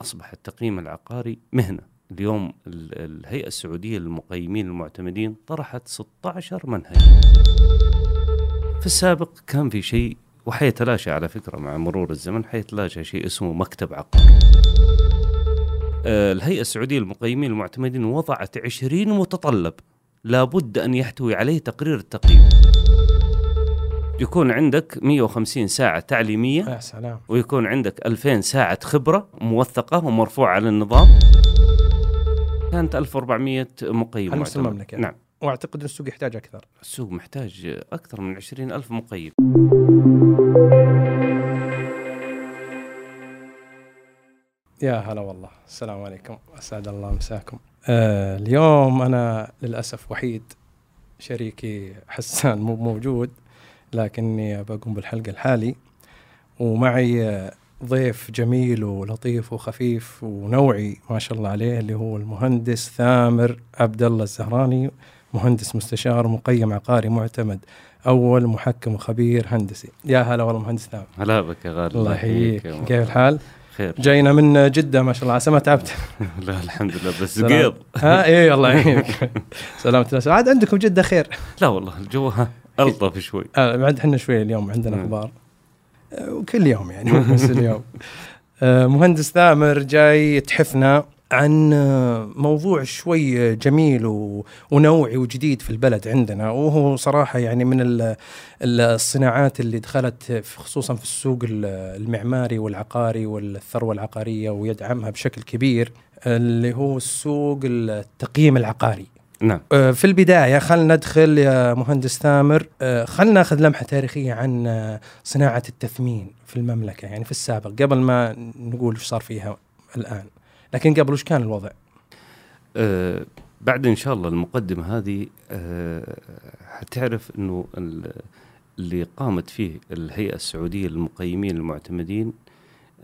أصبح التقييم العقاري مهنة اليوم ال- الهيئة السعودية للمقيمين المعتمدين طرحت 16 منهج في السابق كان في شيء وحيتلاشى على فكرة مع مرور الزمن حيتلاشى شيء اسمه مكتب عقار آه، الهيئة السعودية للمقيمين المعتمدين وضعت 20 متطلب لابد أن يحتوي عليه تقرير التقييم يكون عندك 150 ساعة تعليمية يا سلام ويكون عندك 2000 ساعة خبرة موثقة ومرفوعة على النظام كانت 1400 مقيم على مستوى معتمد. المملكة. نعم واعتقد ان السوق يحتاج اكثر السوق محتاج أكثر من 20 ألف مقيم يا هلا والله السلام عليكم اسعد الله مساكم آه اليوم انا للاسف وحيد شريكي حسان مو موجود لكني بقوم بالحلقه الحالي ومعي آه، ضيف جميل ولطيف وخفيف ونوعي ما شاء الله عليه اللي هو المهندس ثامر عبد الله الزهراني مهندس مستشار مقيم عقاري معتمد اول محكم وخبير هندسي يا هلا والله مهندس ثامر هلا بك يا غالي الله يحييك يا مرحبا. كيف الحال؟ خير جينا من جدة ما شاء الله عسى ما تعبت لا الحمد لله بس سلام. قيض ها اي الله يعينك سلامة الناس عاد عندكم جدة خير لا والله الجو ها ألطف شوي آه، بعد احنا شوي اليوم عندنا مم. اخبار آه، وكل يوم يعني مو بس اليوم آه، مهندس ثامر جاي تحفنا عن آه، موضوع شوي جميل و- ونوعي وجديد في البلد عندنا وهو صراحة يعني من ال- ال- الصناعات اللي دخلت في- خصوصا في السوق ال- المعماري والعقاري والثروة العقارية ويدعمها بشكل كبير اللي هو السوق التقييم العقاري نعم آه، في البدايه خلنا ندخل يا مهندس ثامر آه، خلنا ناخذ لمحه تاريخيه عن آه، صناعه التثمين في المملكه يعني في السابق قبل ما نقول وش صار فيها الان لكن قبل وش كان الوضع؟ آه، بعد ان شاء الله المقدمه هذه آه، حتعرف انه ال- اللي قامت فيه الهيئه السعوديه للمقيمين المعتمدين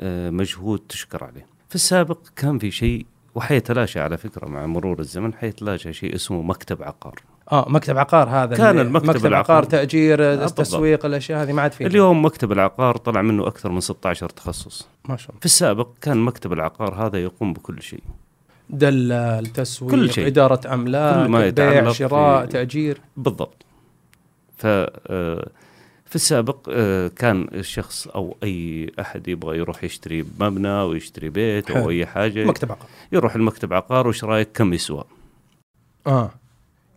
آه، مجهود تشكر عليه. في السابق كان في شيء وحيتلاشى على فكره مع مرور الزمن حيتلاشى شيء اسمه مكتب عقار. اه مكتب عقار هذا كان اللي- المكتب مكتب العقار. عقار تاجير آه، بالضبط. التسويق الاشياء هذه ما عاد فيها اليوم مكتب العقار طلع منه اكثر من 16 تخصص. ما شاء الله في السابق كان مكتب العقار هذا يقوم بكل شيء. دلال تسويق كل شيء. اداره املاك كل ما بيع يتعلق شراء في- تاجير بالضبط ف آه، في السابق آه، كان الشخص او اي احد يبغى يروح يشتري مبنى او يشتري بيت حلو. او اي حاجه مكتب عقار يروح المكتب عقار وش رايك كم يسوى اه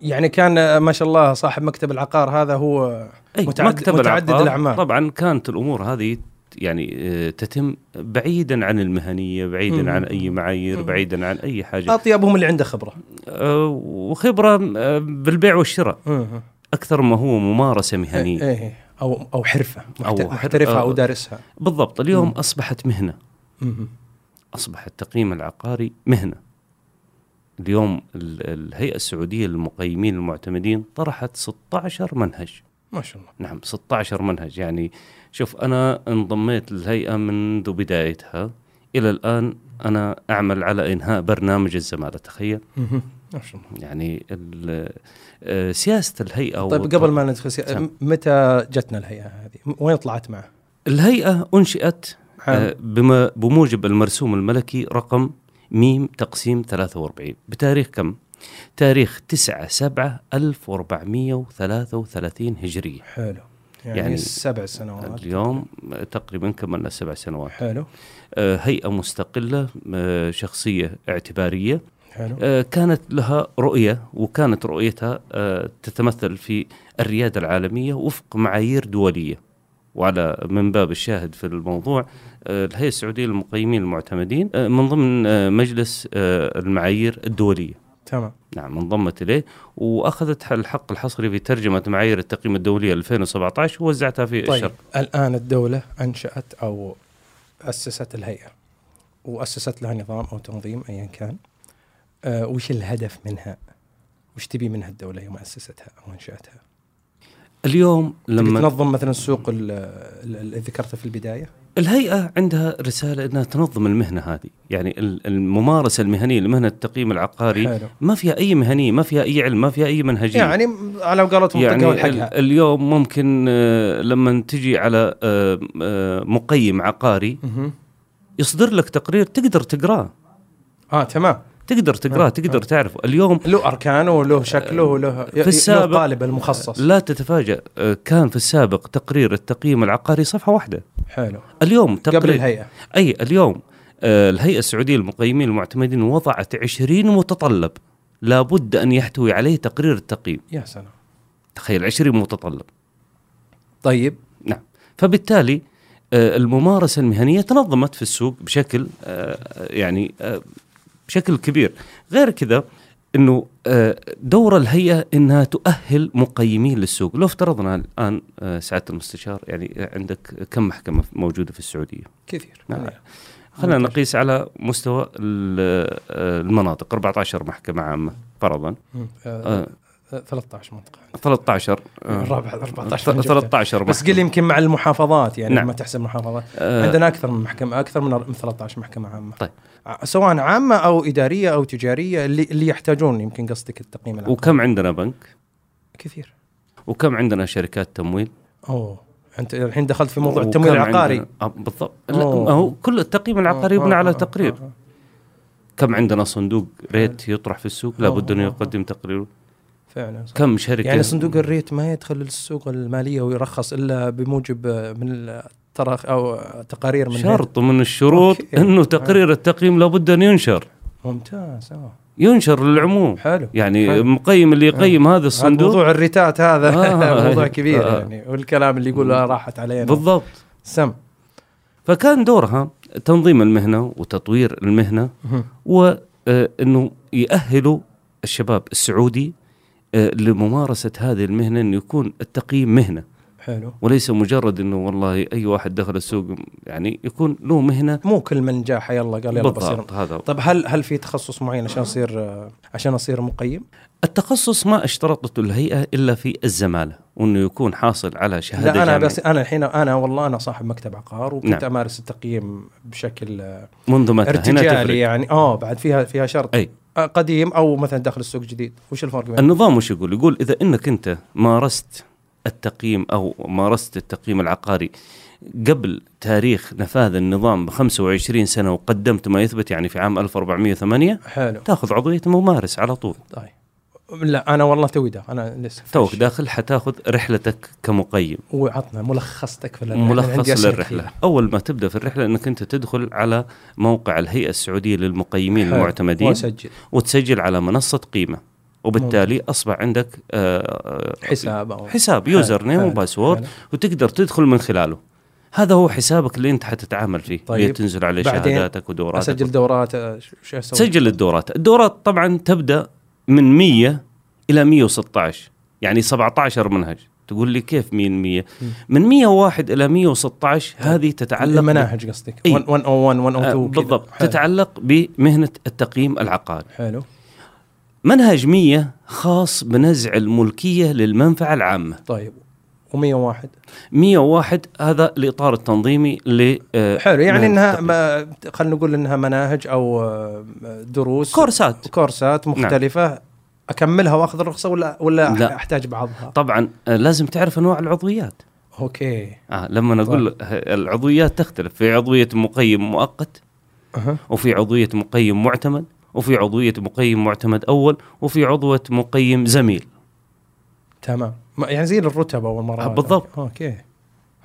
يعني كان آه، ما شاء الله صاحب مكتب العقار هذا هو آه، أي متعدد- متعدد العقار. الأعمار. طبعا كانت الامور هذه يعني آه، تتم بعيدا عن المهنيه بعيدا مم. عن اي معايير مم. بعيدا عن اي حاجه اطيبهم اللي عنده خبره آه، وخبره آه، بالبيع والشراء مم. اكثر ما هو ممارسه مهنيه ايه او او حرفه يعني أو محت- حر- محترفها او آه. دارسها بالضبط اليوم إيه. مم. اصبحت مهنه أصبح التقييم العقاري مهنة اليوم ال- الهيئة السعودية للمقيمين المعتمدين طرحت 16 منهج ما شاء الله نعم 16 منهج يعني شوف أنا انضميت للهيئة منذ بدايتها إلى الآن أنا أعمل على إنهاء برنامج الزمالة تخيل ما شاء الله يعني ال- آه، سياسة الهيئة طيب والط- قبل ما ندخل سي... تمام. متى جتنا الهيئه هذه؟ م- وين طلعت معه؟ الهيئة أنشئت آه، عام بما بموجب المرسوم الملكي رقم ميم تقسيم 43 بتاريخ كم؟ تاريخ 9 7 1433 هجرية حلو يعني, يعني سبع سنوات اليوم تقريبا كملنا سبع سنوات حلو آه، هيئة مستقلة آه، شخصية اعتبارية حلو آه، كانت لها رؤية وكانت رؤيتها آه، تتمثل في الريادة العالمية وفق معايير دولية وعلى من باب الشاهد في الموضوع آه، الهيئة السعودية للمقيمين المعتمدين آه، من ضمن آه، مجلس آه، المعايير الدولية تمام نعم انضمت إليه وأخذت الحق الحصري في ترجمة معايير التقييم الدولية 2017 ووزعتها في طيب الشرق الان الدوله انشات او اسست الهيئه واسست لها نظام او تنظيم ايا كان آه، وش الهدف منها؟ وش تبي منها الدوله يوم اسستها او انشاتها؟ اليوم لما لما تنظم مثلا سوق ال- ال- اللي ذكرته في البدايه الهيئه عندها رساله انها تنظم المهنه هذه يعني ال- الممارسه المهنيه لمهنه التقييم العقاري حلو ما فيها اي مهنيه ما فيها اي علم ما فيها اي منهجيه يعني على قولتهم تلقون يعني ال- حقها اليوم ممكن آه، لما تجي على آه، آه، مقيم عقاري مهم. يصدر لك تقرير تقدر تقراه اه تمام تقدر تقراه آه، تقدر آه. تعرفه اليوم له اركانه وله شكله وله ي- له آه، السابق- الطالب المخصص لا تتفاجأ آه، كان في السابق تقرير التقييم العقاري صفحة واحدة حلو اليوم تقرير قبل الهيئه أي اليوم آه، الهيئة السعودية للمقيمين المعتمدين وضعت 20 متطلب لابد أن يحتوي عليه تقرير التقييم يا سلام تخيل 20 متطلب طيب نعم فبالتالي آه، الممارسة المهنية تنظمت في السوق بشكل آه، يعني آه، بشكل كبير غير كذا انه آه، دور الهيئه انها تؤهل مقيمين للسوق، لو افترضنا الان آه، سعاده المستشار يعني عندك كم محكمه موجوده في السعوديه؟ كثير نعم. يعني خلينا ممتاز. نقيس على مستوى ال- آه، المناطق 14 محكمه عامه فرضا مم. آه، آه، 13 منطقه 13 آه، الرابع 14 من جبتها. 13 بس محكمة. قل يمكن مع المحافظات يعني نعم. لما تحسب محافظات آه، عندنا اكثر من محكمه اكثر من من 13 محكمه عامه طيب. ع- آه، سواء عامه او اداريه او تجاريه اللي اللي يحتاجون يمكن قصدك التقييم العقاري وكم عندنا بنك؟ كثير وكم عندنا شركات تمويل؟ اوه انت الحين دخلت في موضوع التمويل وكم العقاري عندنا- آه بالضبط لا أوه. ما هو كل التقييم العقاري آه، يبنى آه، آه، على آه، تقرير آه. كم عندنا صندوق ريت يطرح في السوق لابد انه آه، آه، آه. يقدم تقريره فعلا صح. كم شركه يعني صندوق الريت ما يدخل السوق الماليه ويرخص الا بموجب آه، من التراخ او آه، تقارير من شرط من الشروط أوكي. انه تقرير التقييم لابد ان ينشر هيدا. ممتاز آه. ينشر للعموم حلو يعني حلو. آه. المقيم اللي يقيم هذا هذا الصندوق موضوع الريتات هذا آه. موضوع كبير آه. يعني والكلام اللي يقول آه، راحت علينا بالضبط سم فكان دورها تنظيم المهنه وتطوير المهنه مهم. وانه يأهلوا الشباب السعودي آه، لممارسه هذه المهنه انه يكون التقييم مهنه حلو وليس مجرد انه والله اي واحد دخل السوق يعني يكون له مهنه مو كل من جاء حيالله قال يلا بصير بالضبط هذا طب هل هل في تخصص معين عشان اصير آه، عشان اصير مقيم؟ التخصص ما اشترطته الهيئه الا في الزماله وانه يكون حاصل على شهاده لا انا جامعية بس انا الحين انا والله انا صاحب مكتب عقار وكنت يعني. نعم. امارس التقييم بشكل آه، منذ متى هنا ارتجالي تفرق يعني اه بعد فيها فيها شرط أي. آه، قديم او مثلا داخل السوق جديد وش الفرق بين النظام وش يقول يقول اذا انك انت مارست التقييم او مارست التقييم العقاري قبل تاريخ نفاذ النظام ب 25 سنه وقدمت ما يثبت يعني في عام 1408 حلو تاخذ عضويه ممارس على طول طيب لا انا والله توي ده انا لسه توك فريش. داخل حتاخذ رحلتك كمقيم وعطنا ملخصتك في الرحلة. أنا عندي ملخص أسئلة للرحلة كثير. أول ما تبدأ في الرحلة أنك أنت تدخل على موقع الهيئة السعودية للمقيمين حلو. المعتمدين واسجل وتسجل على منصة قيمة وبالتالي أصبح عندك آه، آه، حساب او حساب حلو، يوزر نيم حلو، وباسورد حلو. وتقدر تدخل من خلاله هذا هو حسابك اللي أنت حتتعامل فيه طيب. اللي تنزل عليه بعدين شهاداتك ودوراتك اسجل دورات آه، شو شو اسوي؟ تسجل الدورات الدورات طبعا تبدأ من 100 إلى 116 يعني 17 منهج تقول لي كيف من 100 من 101 إلى 116 هذه تتعلق المناهج قصدك إي. 101 آه 102 كذا. بالضبط حلو. تتعلق بمهنة التقييم العقاري حلو منهج 100 خاص بنزع الملكية للمنفعة العامة طيب و101 101 هذا الإطار التنظيمي ل آه، حلو يعني مهنة انها التقييم. ما خلينا نقول انها مناهج او آه، دروس كورسات كورسات مختلفه نعم. اكملها واخذ الرخصه ولا ولا لا. لا. احتاج بعضها طبعا آه، لازم تعرف أنواع العضويات اوكي آه لما نقول العضويات تختلف في عضوية مقيم مؤقت أه. وفي عضوية مقيم معتمد وفي عضوية مقيم معتمد أول وفي عضوة مقيم زميل تمام ما- يعني زي الرتب اول مره آه، بالضبط. اوكي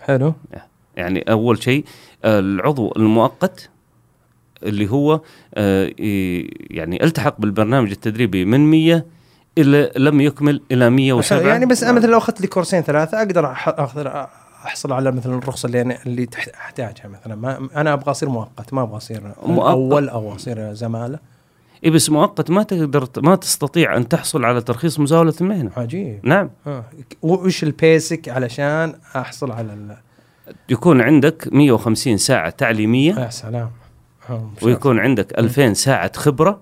حلو يعني أول شيء آه، العضو المؤقت اللي هو آه، ي- يعني التحق بالبرنامج التدريبي من 100 إلى لم يكمل إلى 107 يعني بس انا مثلا لو اخذت لي كورسين ثلاثه اقدر أح- اخذ احصل على مثلا الرخصه اللي انا اللي تح- احتاجها مثلا ما انا ابغى اصير مؤقت ما ابغى اصير مؤقت. اول او اصير زماله إيه بس مؤقت ما تقدر ما تستطيع أن تحصل على ترخيص مزاولة المهنة عجيب نعم آه. وش البيسك علشان احصل على ال... آه، يكون عندك 150 ساعة تعليمية يا سلام هم شاف. ويكون عندك 2000 ساعه خبره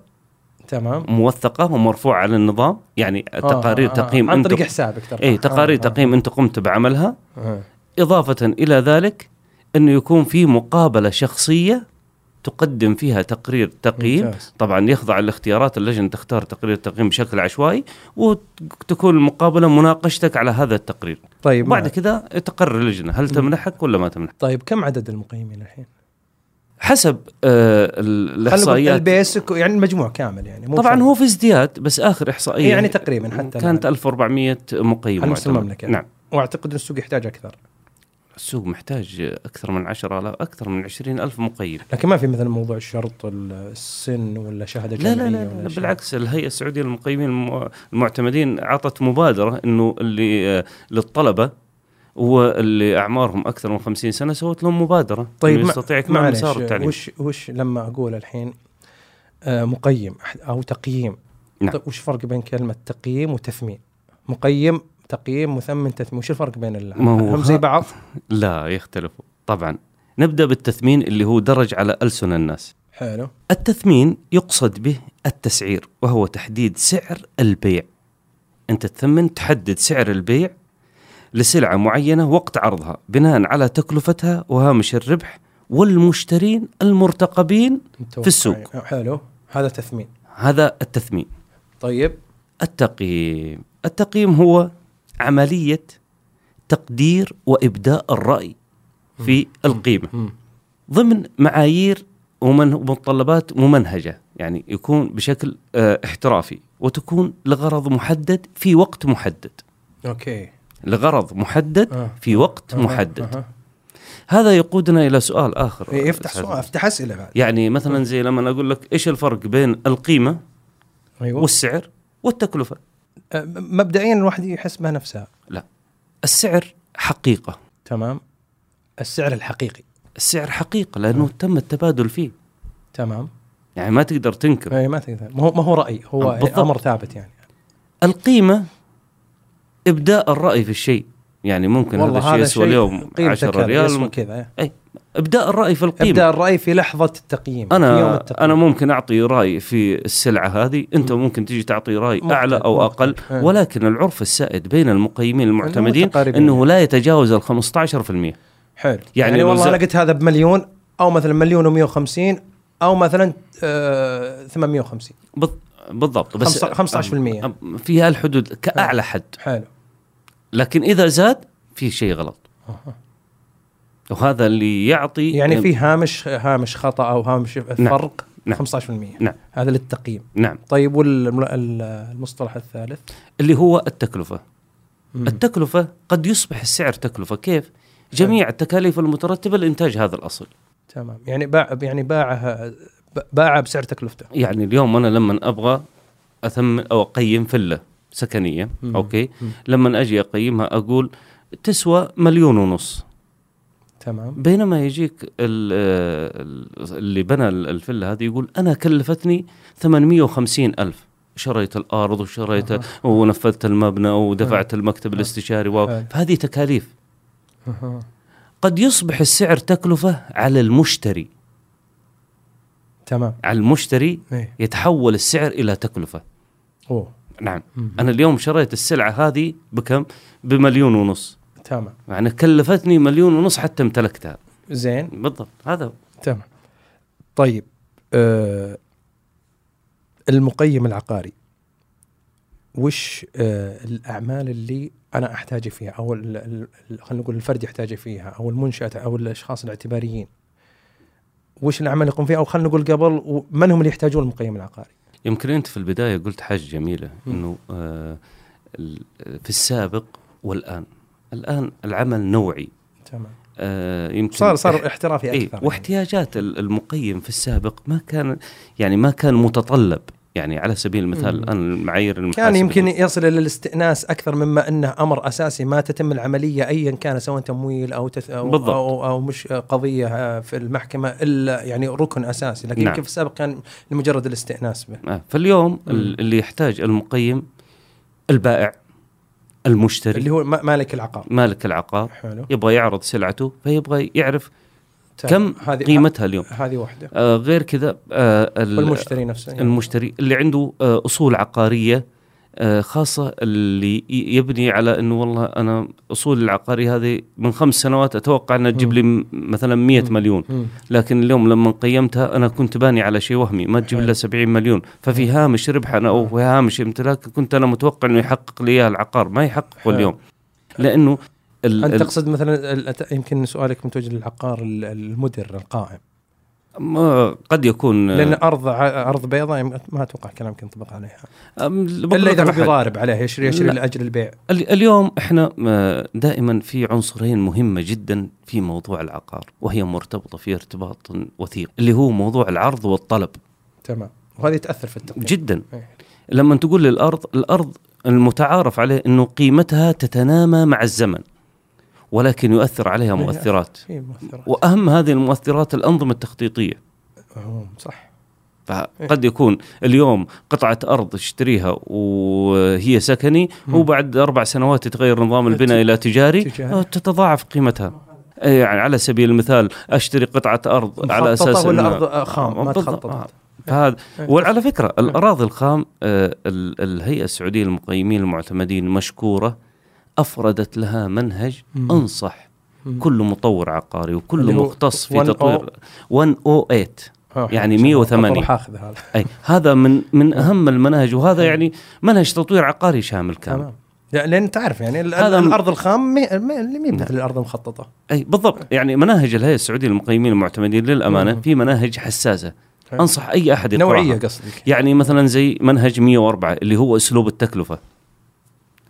تمام موثقه ومرفوعه على النظام يعني تقارير تقييم آه، عن انت طريق آه، حسابك ترى آه، اي تقارير تقييم انت قمت بعملها اضافه الى ذلك انه يكون في مقابله شخصيه تقدم فيها تقرير تقييم ممتاز. طبعا يخضع للاختيارات اللجنه تختار تقرير تقييم بشكل عشوائي وتكون المقابله مناقشتك على هذا التقرير طيب وبعد بعد كذا تقرر اللجنه هل تمنحك ولا ما تمنحك طيب كم عدد المقيمين الحين؟ حسب آه ال- خلنا نقول الاحصائيات البيسك يعني المجموع كامل يعني مو طبعا بشرط. هو في ازدياد بس اخر احصائيه يعني تقريبا حتى كانت 1400 مقيم على مستوى معتمد. المملكة. نعم واعتقد ان السوق يحتاج اكثر السوق محتاج اكثر من 10000 اكثر من 20000 مقيم لكن ما في مثلا موضوع الشرط السن ولا شهاده لا جامعيه لا لا, ولا لا شيء. بالعكس الهيئه السعوديه للمقيمين الم- المعتمدين اعطت مبادره انه اللي آه، للطلبه واللي اعمارهم اكثر من 50 سنه سوت لهم مبادره طيب إنه ما- يستطيع اكمال معلش، مسار التعليم وش وش لما اقول الحين آه، مقيم أح- او تقييم نعم. طيب وش الفرق بين كلمه تقييم وتثمين؟ مقيم تقييم مثمن تثمين وش الفرق بين ال- ما هو هم زي ها- بعض لا يختلفوا طبعا نبدا بالتثمين اللي هو درج على السن الناس حلو التثمين يقصد به التسعير وهو تحديد سعر البيع انت تثمن تحدد سعر البيع لسلعه معينه وقت عرضها بناء على تكلفتها وهامش الربح والمشترين المرتقبين متوقع. في السوق. آه، حلو هذا تثمين هذا التثمين طيب التقييم التقييم هو عمليه تقدير وابداء الراي في القيمه مم. ضمن معايير ومن- ومتطلبات ممنهجه يعني يكون بشكل آه، احترافي وتكون لغرض محدد في وقت محدد اوكي لغرض محدد آه. في وقت أها، محدد أها. هذا يقودنا الى سؤال اخر إيه، افتح أستاذ. سؤال افتح اسئله بعد يعني مثلا زي لما اقول لك ايش الفرق بين القيمه ايوه والسعر والتكلفه آه، م- مبدئيا الواحد يحس بها نفسها السعر حقيقه تمام السعر الحقيقي السعر حقيقه نعم. لانه تم التبادل فيه تمام يعني ما تقدر تنكر اي ما تقدر ما هو ما هو راي هو آه، بالضبط. امر ثابت يعني القيمه ابداء الراي في الشيء يعني ممكن هذا الشيء يسوى شيء اليوم قيمته 10 كذا، يسوى ريال كذا إيه. ابداء الراي في القيمه ابدا الراي في لحظه التقييم في يوم انا التقييم. انا ممكن اعطي راي في السلعه هذه انت ممكن تيجي تعطي راي مختلف، اعلى او مختلف. اقل إيه. ولكن العرف السائد بين المقيمين المعتمدين متقاربين. انه لا يتجاوز ال 15% حلو يعني, يعني لو والله زاد- انا قلت هذا بمليون او مثلا مليون و150 او مثلا آه 850 بض- بالضبط بس بس 15% أم- في هالحدود كاعلى إيه. حد حلو لكن اذا زاد في شيء غلط وهذا اللي يعطي يعني في هامش هامش خطا او هامش فرق نعم. 15% نعم. هذا للتقييم نعم طيب والمصطلح الثالث اللي هو التكلفه مم. التكلفه قد يصبح السعر تكلفه كيف جميع التكاليف المترتبه لانتاج هذا الاصل تمام يعني باع يعني باعها باعها بسعر تكلفته يعني اليوم انا لما ابغى اثمن او اقيم فله سكنيه مم. اوكي مم. لما اجي اقيمها اقول تسوى مليون ونص تمام بينما يجيك ال- ال- اللي بنى ال- الفله هذه يقول انا كلفتني 850 الف شريت الارض وشريت أها. ونفذت المبنى ودفعت المكتب الاستشاري و حلو. فهذه تكاليف أها. قد يصبح السعر تكلفه على المشتري تمام على المشتري ايه يتحول السعر الى تكلفه اوه نعم مم. انا اليوم شريت السلعه هذه بكم بمليون ونص تمام يعني كلفتني مليون ونص حتى امتلكتها زين بالضبط هذا هو. تمام طيب آه المقيم العقاري وش آه الاعمال اللي انا احتاج فيها او ال- ال- ال- خلينا نقول الفرد يحتاج فيها او المنشاه او الاشخاص الاعتباريين وش الاعمال اللي يقوم فيها او خلينا نقول قبل و- من هم اللي يحتاجون المقيم العقاري يمكن انت في البدايه قلت حاجه جميله مم. انه آه ال- في السابق والان الان العمل نوعي تمام آه يمكن صار صار احترافي يعني. إيه اكثر واحتياجات ال- المقيم في السابق ما كان يعني ما كان متطلب يعني على سبيل المثال مم. الان المعايير كان المحاسبة يمكن يصل الى الاستئناس اكثر مما انه امر اساسي ما تتم العمليه ايا كان سواء تمويل او تث... أو, بالضبط. او او مش قضيه آه، في المحكمه الا يعني ركن اساسي لكن نعم. نعم. يمكن في السابق كان لمجرد الاستئناس به آه فاليوم مم. ال- اللي يحتاج المقيم البائع المشتري اللي هو ما- مالك العقار مالك العقار حلو يبغى يعرض سلعته فيبغى يعرف كم هذه قيمتها اليوم هذه واحده آه غير كذا آه ال- والمشتري نفسه يعني. المشتري اللي عنده آه، اصول عقاريه آه، خاصه اللي ي- يبني على انه والله انا اصول العقاري هذه من خمس سنوات اتوقع انها تجيب لي م- مثلا 100 مم. مليون مم. لكن اليوم لما قيمتها انا كنت باني على شيء وهمي ما تجيب حلو. الا 70 مليون ففي هامش ربح انا او في هامش امتلاك كنت انا متوقع انه يحقق لي إياه العقار ما يحققه حلو. اليوم لانه ال- انت ال- تقصد مثلا ال- أت- يمكن سؤالك متوجه للعقار ال- المدر القائم ما- قد يكون آه، لان ارض ع- ارض بيضاء يم- ما اتوقع كلامك ينطبق عليها أم- الا اذا هو بقدر أحد. بيضارب عليها يشتري يشتري لا. لاجل البيع ال- اليوم احنا آه، دائما في عنصرين مهمه جدا في موضوع العقار وهي مرتبطه في ارتباط وثيق اللي هو موضوع العرض والطلب تمام وهذه تاثر في التقييم جدا إيه. لما تقول للارض الارض المتعارف عليه انه قيمتها تتنامى مع الزمن ولكن يؤثر عليها إيه. مؤثرات في مؤثرات واهم هذه المؤثرات الانظمه التخطيطيه مهم. صح إيه. فقد يكون اليوم قطعة أرض تشتريها وهي سكني مم. وبعد أربع سنوات يتغير نظام البناء إلى تجاري تجاري. آه، تتضاعف قيمتها آه، يعني على سبيل المثال أشتري قطعة أرض على مخططة أساس ولا إنها- ارض آه، خام ما بالضبط. تخططت فهذا إيه. وعلى فكرة الأراضي الخام آه، ال- الهيئة السعودية للمقيمين المعتمدين مشكورة أفردت لها منهج مم. أنصح مم. كل مطور عقاري اللي وكل هو oh. مختص في 1O. تطوير 108 آه، يعني عشان 180. أطول حاخذ هذا اي هذا من من اهم المناهج وهذا يعني منهج تطوير عقاري شامل كامل تمام لا، لان تعرف يعني ال- هذا م- نعم. الارض الخام ما ما- اللي مي مثل الارض المخططه اي بالضبط يعني مناهج الهيئه السعوديه للمقيمين المعتمدين للامانه مم. في مناهج حساسه حلو. انصح اي احد يقراها نوعيه نوعيه قصدك يعني مثلا زي منهج 104 اللي هو اسلوب التكلفه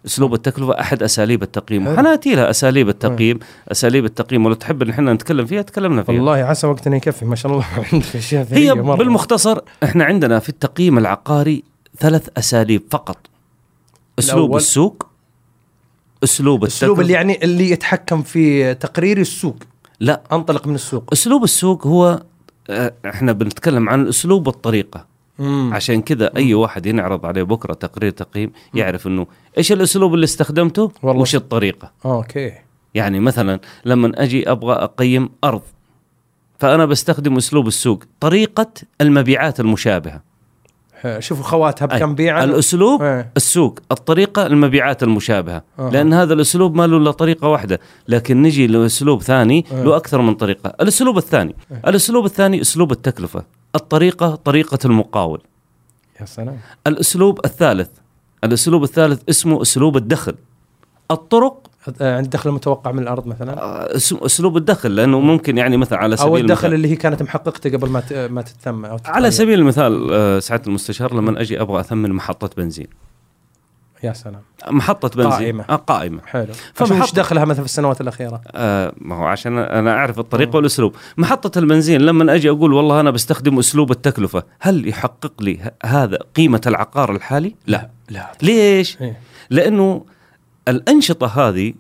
اسلوب التكلفه احد اساليب التقييم حلو. حناتي لها اساليب التقييم اساليب التقييم ولو تحب ان احنا نتكلم فيها تكلمنا فيها والله عسى وقتنا يكفي ما شاء الله عندك اشياء ثرية إيه. هي مرة. بالمختصر احنا عندنا في التقييم العقاري ثلاث اساليب فقط اسلوب الأول. السوق اسلوب الاسلوب التكلفة اللي يعني اللي يتحكم في تقرير السوق لا انطلق من السوق اسلوب السوق هو آه، احنا بنتكلم عن الاسلوب والطريقه مم. عشان كذا اي واحد ينعرض عليه بكره تقرير تقييم يعرف انه ايش الاسلوب اللي استخدمته والله. وش الطريقه اوكي يعني مثلا لما اجي ابغى اقيم ارض فانا بستخدم اسلوب السوق طريقه المبيعات المشابهه ها، شوفوا خواتها أي. بكم بيعا الاسلوب إيه. السوق الطريقه المبيعات المشابهه أها. لان هذا الاسلوب ما له الا طريقه واحده لكن نجي لاسلوب ثاني أه. له اكثر من طريقه الاسلوب الثاني إيه. الاسلوب الثاني اسلوب التكلفه الطريقه طريقه المقاول يا سلام الاسلوب الثالث الاسلوب الثالث اسمه اسلوب الدخل الطرق آه، عند الدخل المتوقع من الارض مثلا آه، اسم- اسلوب الدخل لانه ممكن يعني مثلا على سبيل او الدخل المثال اللي هي كانت محققته قبل ما ت- ما تتم او على تتقيم. سبيل المثال آه، سعاده المستشار لما اجي ابغى اثمن محطه بنزين يا سلام محطه بنزين قائمة. آه قائمه حلو فمحط- فمحط... ايش دخلها مثلا في السنوات الاخيره؟ آه، ما هو عشان انا اعرف الطريقه والاسلوب محطه البنزين لما اجي اقول والله انا بستخدم اسلوب التكلفه هل يحقق لي ه- هذا قيمه العقار الحالي لا لا ليش إيه. لانه الانشطه هذه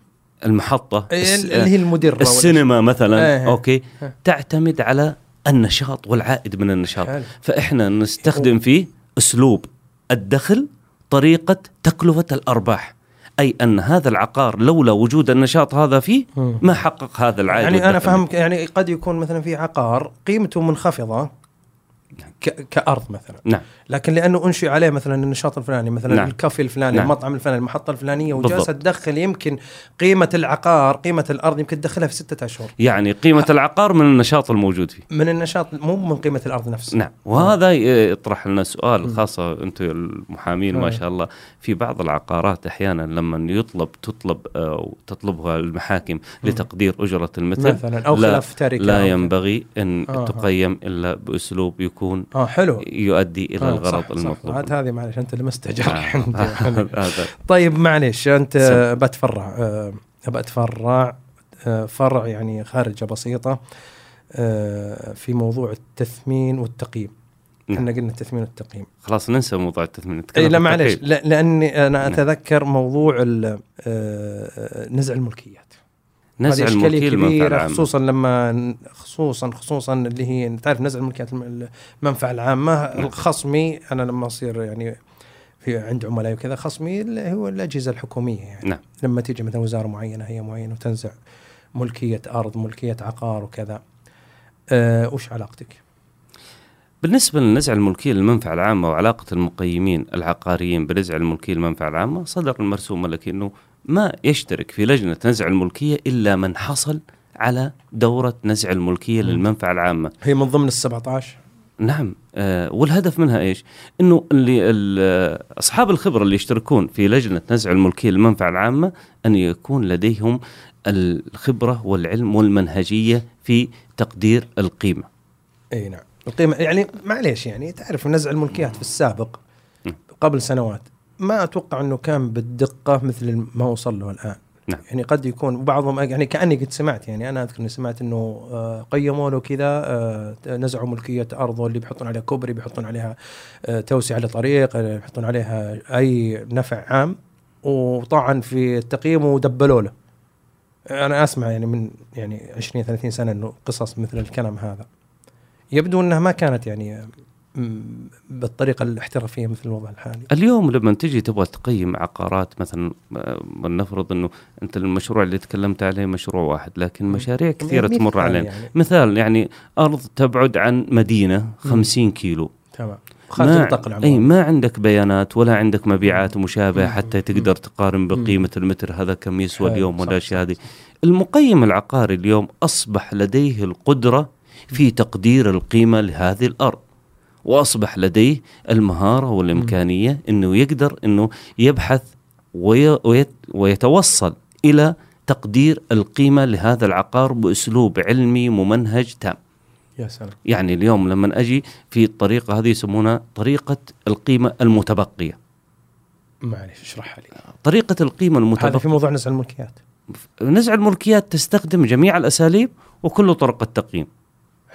المحطه إيه، الس- اللي هي المدره آه، السينما مثلا إيه. اوكي إيه. تعتمد على النشاط والعائد من النشاط حلو. فاحنا نستخدم فيه اسلوب الدخل طريقه تكلفه الارباح اي ان هذا العقار لولا وجود النشاط هذا فيه مم. ما حقق هذا العائد يعني انا والدخل. فهمك يعني قد يكون مثلا في عقار قيمته منخفضه ك... كارض مثلا نعم لكن لانه انشئ عليه مثلا النشاط الفلاني مثلا نعم. نعم. الكافي الفلاني نعم. نعم. المطعم الفلاني المحطه الفلانيه وجالسه بالضبط. تدخل يمكن قيمه العقار قيمه الارض يمكن تدخلها في ستة اشهر يعني قيمه العقار من النشاط الموجود فيه من النشاط مو من قيمه الارض نفسها نعم وهذا ي- يطرح لنا سؤال خاصة أنتم المحامين ما آه. شاء الله في بعض العقارات أحيانا لما يطلب تطلب أو تطلبها المحاكم لتقدير أجرة المثل مثلا او لا- خلاف تاريخي لا ينبغي أن آه. تقيم إلا بأسلوب يكون اه حلو يؤدي إلى آه، الغرض صح، صح. المطلوب عاد هذه معلش انت لمست آه. جرح عندي هذا طيب معلش انت آه، سم. بتفرع آه، بتفرع آه، فرع يعني خارجه بسيطه آه، في موضوع التثمين والتقييم نعم. احنا قلنا التثمين والتقييم خلاص ننسى موضوع التثمين نتكلم اي إيه، لا في معلش التقييم. لا لاني انا نعم. اتذكر موضوع ال- آه، نزع الملكيات نزع هذه إشكالية الملكي المنفعة كبيرة العامة خصوصا لما ن- خصوصا خصوصا اللي هي تعرف نزع الملكيات الم- المنفعه العامه نعم. خصمي انا لما اصير يعني في عند عملاء وكذا خصمي اللي هو الاجهزه الحكوميه يعني نعم. لما تيجي مثلا وزاره معينه هي معينه وتنزع ملكيه ارض ملكيه عقار وكذا آه، وش علاقتك؟ بالنسبة للنزع الملكية للمنفعة العامة وعلاقة المقيمين العقاريين بنزع الملكية للمنفعة العامة صدر المرسوم الملكي أنه ما يشترك في لجنة نزع الملكية إلا من حصل على دورة نزع الملكية للمنفعة العامة هي من ضمن ال 17 نعم آه والهدف منها ايش؟ انه اللي ال- اصحاب الخبره اللي يشتركون في لجنه نزع الملكيه للمنفعه العامه ان يكون لديهم الخبره والعلم والمنهجيه في تقدير القيمه. اي نعم القيمه يعني معليش يعني تعرف نزع الملكيات في السابق قبل سنوات ما اتوقع انه كان بالدقه مثل ما وصل له الان نعم. يعني قد يكون بعضهم يعني كاني قد سمعت يعني انا اذكر اني سمعت انه آه، قيموا له كذا آه، نزعوا ملكيه ارضه اللي بيحطون عليها كوبري بيحطون عليها آه، توسعه لطريق آه، بيحطون عليها اي نفع عام وطعن في التقييم ودبلوا له انا اسمع يعني من يعني 20 30 سنه انه قصص مثل الكلام هذا يبدو انها ما كانت يعني م- بالطريقه الاحترافيه مثل الوضع الحالي اليوم لما تجي تبغى تقيم عقارات مثلا آه، ولنفرض انه انت المشروع اللي تكلمت عليه مشروع واحد لكن مشاريع كثيره مثال تمر علينا. يعني. مثال يعني ارض تبعد عن مدينه 50 كيلو تمام خارج ما نطاق اي العمر ما عندك بيانات ولا عندك مبيعات مشابهه حتى تقدر تقارن بقيمه المتر هذا كم يسوى حلو، اليوم إيه، صح، ولا الاشياء هذه المقيم العقاري اليوم اصبح لديه القدره في تقدير القيمه لهذه الارض واصبح لديه المهاره والامكانيه انه يقدر انه يبحث وي- ويت- ويتوصل الى تقدير القيمه لهذا العقار باسلوب علمي ممنهج تام يا سلام يعني اليوم لما اجي في الطريقه هذه يسمونها طريقه القيمه المتبقيه معليش اشرحها لي طريقه القيمه هذا في المتبقيه موضوع نزع الملكيات نزع الملكيات تستخدم جميع الاساليب وكل طرق التقييم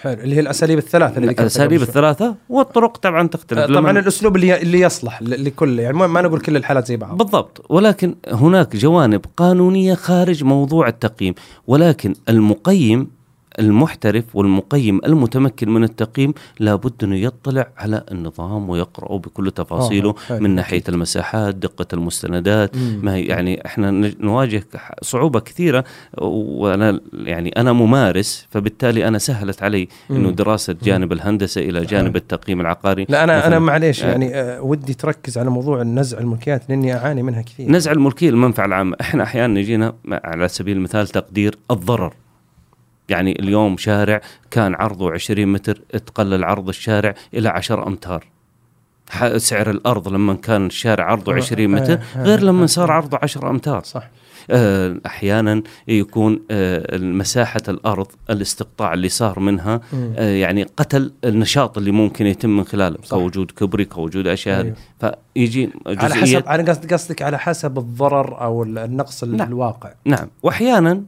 حلو اللي هي الاساليب الثلاثه اللي ذكرتها الاساليب قبل شوي. الثلاثه والطرق طبعا تختلف آه، لما- طبعا الاسلوب اللي اللي يصلح ل- لكل يعني ما- ما نقول كل الحالات زي بعض بالضبط ولكن هناك جوانب قانونيه خارج موضوع التقييم ولكن المقيم المحترف والمقيم المتمكن من التقييم لابد انه يطلع على النظام ويقراه آه، بكل تفاصيله حلو. من ناحيه المساحات، دقه المستندات، ما هي يعني احنا نج- نواجه ح- صعوبه كثيره وانا يعني انا ممارس فبالتالي انا سهلت علي انه دراسه جانب الهندسه الى جانب التقييم العقاري لا انا انا مثلاً. معليش يعني- يعني آه، ودي تركز على موضوع النزع الملكيات لاني اعاني منها كثير نزع الملكيه للمنفعه العامه، احنا احيانا يجينا على سبيل المثال تقدير الضرر. يعني اليوم شارع كان عرضه 20 متر تقلل عرض الشارع الى 10 امتار. ح- سعر الارض لما كان الشارع عرضه آه، 20 متر آه، آه، غير آه. لما صار عرضه 10 امتار. صح آه، احيانا يكون آه، مساحه الارض الاستقطاع اللي صار منها مم. آه، يعني قتل النشاط اللي ممكن يتم من خلاله صح. أيوه. كوجود كبري كوجود اشياء هذه. فيجي على جزئية- حسب انا قصد قصدك على حسب الضرر او ال- النقص ال- نعم. الواقع نعم واحيانا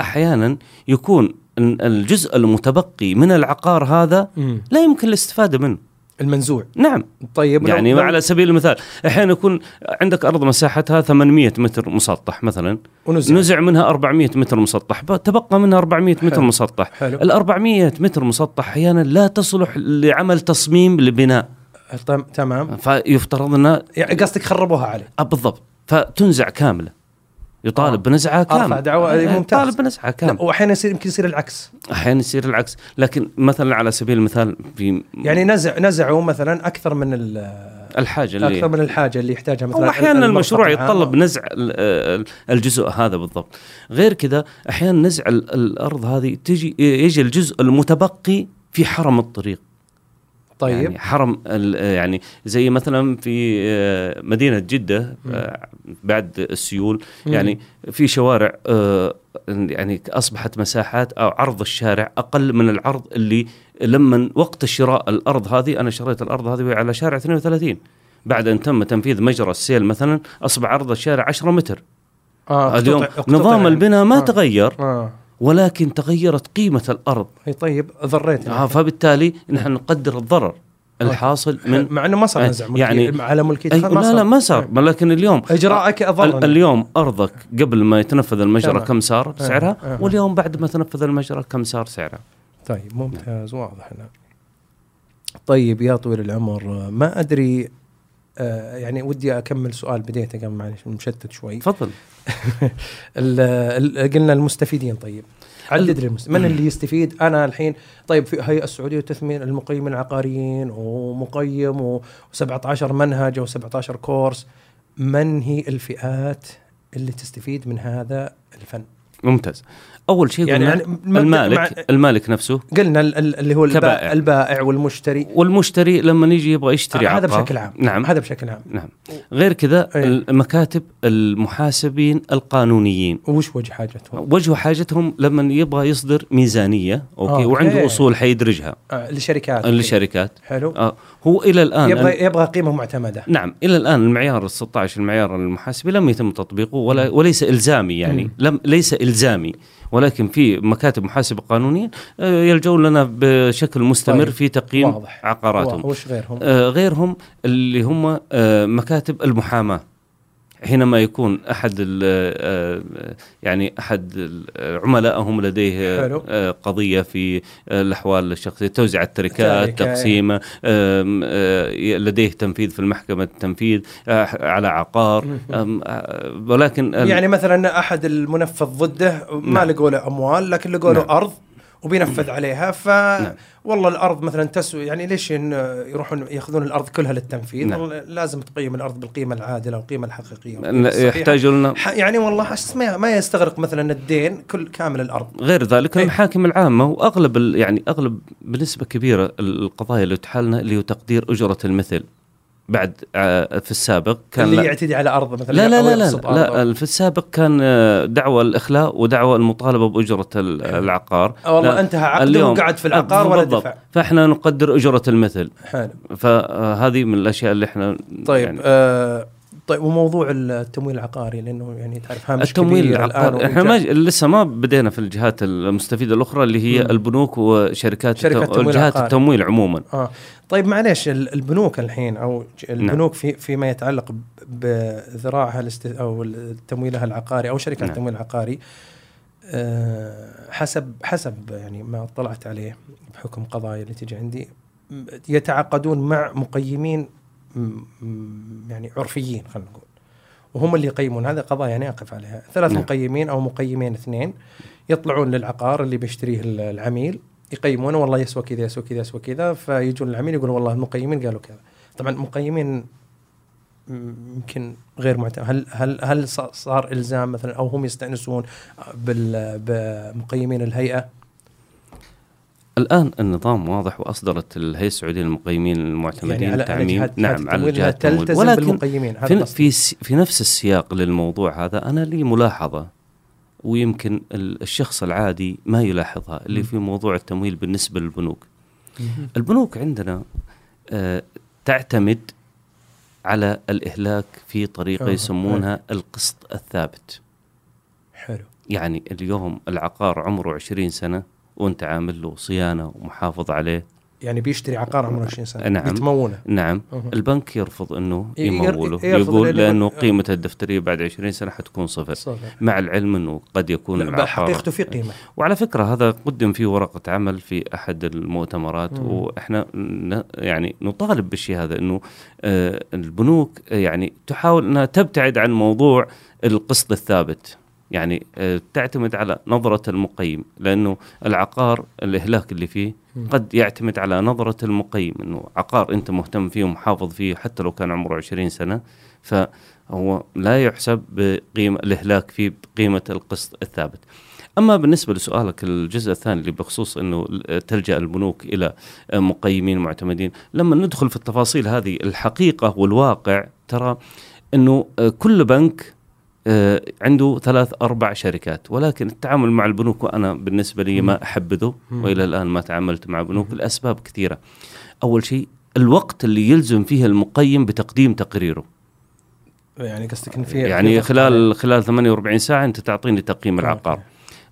احيانا يكون ال- الجزء المتبقي من العقار هذا لا يمكن الاستفاده منه المنزوع نعم طيب لو- يعني لو- على سبيل المثال احيانا يكون عندك ارض مساحتها 800 متر مسطح مثلا ونزع نزع منها 400 متر مسطح ب- تبقى منها 400 متر حلو. مسطح حلو ال 400 متر مسطح احيانا لا تصلح لعمل تصميم لبناء تم- تمام نعم. فيفترض انها يعني قصدك خربوها عليه آه، بالضبط فتنزع كامله يطالب بنزعها آه. أرفع كامله دعوى، آه، ممتاز. يطالب بنزعها كامله لا، واحيانا يصير يمكن يصير العكس احيانا يصير العكس لكن مثلا على سبيل المثال في يعني نزع نزعوا مثلا اكثر من ال- الحاجه اكثر اللي من الحاجه اللي يحتاجها مثلا او احيانا المرفق المشروع العام. يتطلب نزع ال- ال- الجزء هذا بالضبط غير كذا احيانا نزع ال- الارض هذه تجي يجي الجزء المتبقي في حرم الطريق طيب يعني حرم ال- يعني زي مثلا في آه، مدينه جده آه، بعد السيول مم. يعني في شوارع آه، يعني اصبحت مساحات او عرض الشارع اقل من العرض اللي لما وقت شراء الارض هذه انا شريت الارض هذه على شارع 32 بعد ان تم تنفيذ مجرى السيل مثلا اصبح عرض الشارع 10 متر آه اقتطع- اليوم اقتطع نظام يعني. البناء ما آه. تغير اه ولكن تغيرت قيمه الارض اي طيب ضريت آه، فبالتالي نحن نقدر الضرر آه. الحاصل من مع انه ما صار نزع ملكي يعني- على ملكيه أي لا لا ما إيه. صار لكن اليوم اجراءك ال- اضر اليوم ارضك قبل ما يتنفذ المجرى تمام. كم صار آه، سعرها آه. واليوم بعد ما تنفذ المجرى كم صار سعرها طيب ممتاز واضح نعم طيب يا طويل العمر ما ادري آه يعني ودي اكمل سؤال بديته قبل معلش مشتت شوي تفضل ال- ال- قلنا المستفيدين طيب عدد للمس... من اللي يستفيد انا الحين طيب في هيئه السعوديه للتثمين المقيمين العقاريين ومقيم و17 منهج و17 كورس من هي الفئات اللي تستفيد من هذا الفن ممتاز اول شيء يعني يعني يعني مبدأ مع- المالك المالك نفسه قلنا ال- ال- اللي هو البا- كبائع. البائع والمشتري والمشتري لما يجي يبغى يشتري هذا عقار بشكل عام نعم هذا إيه. بشكل عام نعم غير كذا أي. المكاتب المحاسبين القانونيين وش وجه حاجته؟ وجهوا حاجتهم لما يبغى يصدر ميزانيه اوكي, أوكي. أوكي. وعنده اصول حيدرجها آه للشركات للشركات حلو آه هو الى الان يبغى يبغى قيمه معتمده نعم الى الان المعيار ال 16 المعيار المحاسبي لم يتم تطبيقه ولا وليس الزامي يعني مم. لم ليس الزامي ولكن في مكاتب محاسبه قانونيين آه، يلجؤون لنا بشكل مستمر طيب. في تقييم واضح. عقاراتهم وش غيرهم؟ آه، غيرهم اللي هم آه، مكاتب المحاماه حينما يكون احد ال- آه، يعني احد ال- آه، عملائهم لديه حلو. آه، قضيه في آه، الاحوال الشخصيه توزيع التركات التركة، تقسيمه آم، آه، لديه تنفيذ في المحكمه التنفيذ آه، على عقار آم، آه، ولكن ال- يعني مثلا احد المنفذ ضده ما نعم. لقوا له اموال لكن لقوا له نعم. ارض وبينفذ عليها ف نعم. والله الارض مثلا تسوي يعني ليش إن يروحون ياخذون الارض كلها للتنفيذ نعم. والله لازم تقيم الارض بالقيمه العادله والقيمه الحقيقيه والقيمة الصحيحة. يحتاج لنا ح- يعني والله أحس ما ما يستغرق مثلا الدين كل كامل الارض غير ذلك أي. المحاكم العامة وأغلب ال- يعني أغلب بنسبة كبيرة القضايا اللي تحال لنا اللي هو تقدير أجرة المثل بعد آه، في السابق كان اللي لا- يعتدي على ارض مثلا لا لا أو لا لا, يغصب أرضه. لا, لا في السابق كان آه، دعوى الإخلاء ودعوى المطالبة بأجرة ال- العقار آه والله لا، انتهى عقده وقعد في العقار ولا بالضبط. دفع فإحنا نقدر أجرة المثل حلو فهذه من الأشياء اللي إحنا طيب يعني آه طيب وموضوع التمويل العقاري لانه يعني تعرف هامش التمويل كبير العقار الآن احنا ما وإنجاز. لسه ما بدينا في الجهات المستفيده الاخرى اللي هي مم. البنوك وشركات شركات التو... التمويل جهات العقاري. التمويل عموما اه طيب معليش ال- البنوك الحين او ج- نعم. البنوك في فيما يتعلق ب- بذراعها الاست... او ال- تمويلها العقاري او شركه نعم. التمويل العقاري آه حسب حسب يعني ما اطلعت عليه بحكم قضايا اللي تجي عندي م- يتعاقدون مع مقيمين م- م- يعني عرفيين خلينا نقول وهم اللي يقيمون هذا قضايا انا اقف عليها ثلاث نعم. مقيمين او مقيمين اثنين يطلعون للعقار اللي بيشتريه ال- العميل يقيمونه والله يسوى كذا يسوى كذا يسوى كذا فيجون العميل يقول والله المقيمين قالوا كذا طبعا مقيمين م- يمكن غير معتمد هل هل هل ص- صار الزام مثلا او هم يستانسون بال- بمقيمين الهيئه الان النظام واضح واصدرت الهيئه السعوديه للمقيمين المعتمدين على- على التعميم يعني جهات- نعم جهات على التمويل إنها جهات التمويل تلتزم ولكن بالمقيمين هذا في قصدي. في, س- في نفس السياق للموضوع هذا انا لي ملاحظه ويمكن ال- الشخص العادي ما يلاحظها اللي في موضوع التمويل بالنسبه للبنوك البنوك عندنا آه، تعتمد على الإهلاك في طريقة آه، يسمونها القسط الثابت حلو يعني اليوم العقار عمره 20 سنة وانت عامل له صيانة ومحافظ عليه يعني بيشتري عقار عمره 20 سنه نعم. يتمونه نعم أها. البنك يرفض انه ي- ير- يموله يرفض يقول لأنه- لانه قيمته الدفتريه بعد 20 سنه حتكون صفر صدق. مع العلم انه قد يكون لا، العقار حقيقته في قيمه وعلى فكره هذا قدم فيه ورقه عمل في احد المؤتمرات مم. واحنا ن- يعني نطالب بالشيء هذا انه آه، البنوك آه، يعني تحاول انها تبتعد عن موضوع القسط الثابت يعني آه، تعتمد على نظره المقيم لانه العقار الاهلاك اللي فيه مم. قد يعتمد على نظره المقيم انه عقار انت مهتم فيه ومحافظ فيه حتى لو كان عمره 20 سنه فهو لا يحسب بقيمه الاهلاك فيه بقيمه القسط الثابت اما بالنسبه لسؤالك الجزء الثاني اللي بخصوص انه تلجا البنوك الى مقيمين معتمدين لما ندخل في التفاصيل هذه الحقيقه والواقع ترى انه كل بنك آه، عنده ثلاث اربع شركات ولكن التعامل مع البنوك وانا بالنسبه لي ما احبذه مم. والى الان ما تعاملت مع بنوك لاسباب كثيره اول شيء الوقت اللي يلزم فيه المقيم بتقديم تقريره يعني قصدك ان في في يعني ضغط عليه. خلال خلال 48 ساعه انت تعطيني تقييم العقار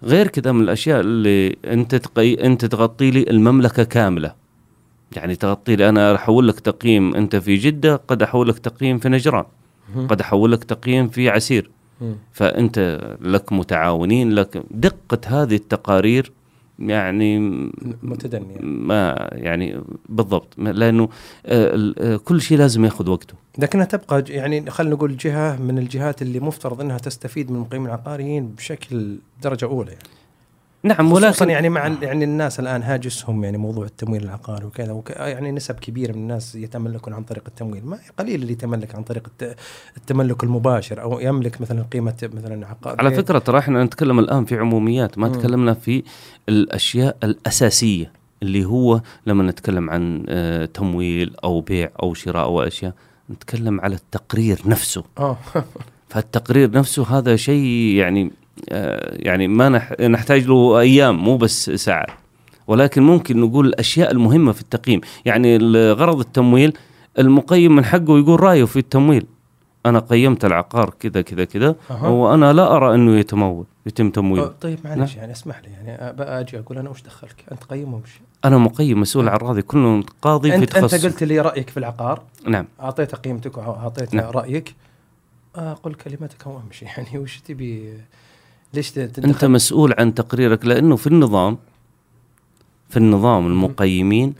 غير كذا من الاشياء اللي انت تقي... انت تغطي لي المملكه كامله يعني تغطي لي انا احول لك تقييم انت في جده قد احول لك تقييم في نجران مهم. قد احول لك تقييم في عسير مم. فانت لك متعاونين لك دقه هذه التقارير يعني متدنيه ما يعني بالضبط ما- لانه آه، ال- آه، كل شيء لازم ياخذ وقته لكنها تبقى ج- يعني خلينا نقول جهه من الجهات اللي مفترض انها تستفيد من المقيمين العقاريين بشكل درجه اولى يعني نعم ولكن ولكن يعني مع ال- يعني الناس الان هاجسهم يعني موضوع التمويل العقاري وكذا وك يعني نسب كبيره من الناس يتملكون عن طريق التمويل، ما قليل اللي يتملك عن طريق الت- التملك المباشر او يملك مثلا قيمه مثلا عقار إيه. على فكره ترى احنا نتكلم الان في عموميات ما تكلمنا في الاشياء الاساسيه اللي هو لما نتكلم عن آه، تمويل او بيع او شراء او اشياء نتكلم على التقرير نفسه اه فالتقرير نفسه هذا شيء يعني آه، يعني ما نح- نحتاج له ايام مو بس ساعات ولكن ممكن نقول الاشياء المهمه في التقييم يعني ال- غرض التمويل المقيم من حقه يقول رايه في التمويل انا قيمت العقار كذا كذا كذا أها. وانا لا ارى انه يتمول يتم آه، تمويله طيب معلش يعني اسمح لي يعني أ- بقى اجي اقول انا وش دخلك؟ انت قيمهم وش؟ انا مقيم مسؤول عن اراضي كلهم قاضي طيب، في انت انت تخصص أه. قلت لي رايك في العقار نعم اعطيته قيمتك واعطيته نعم. نعم. رايك آه، قل كلمتك وامشي يعني وش تبي ليش ت- انت تدخل مسؤول عن تقريرك لانه في النظام في النظام المقيمين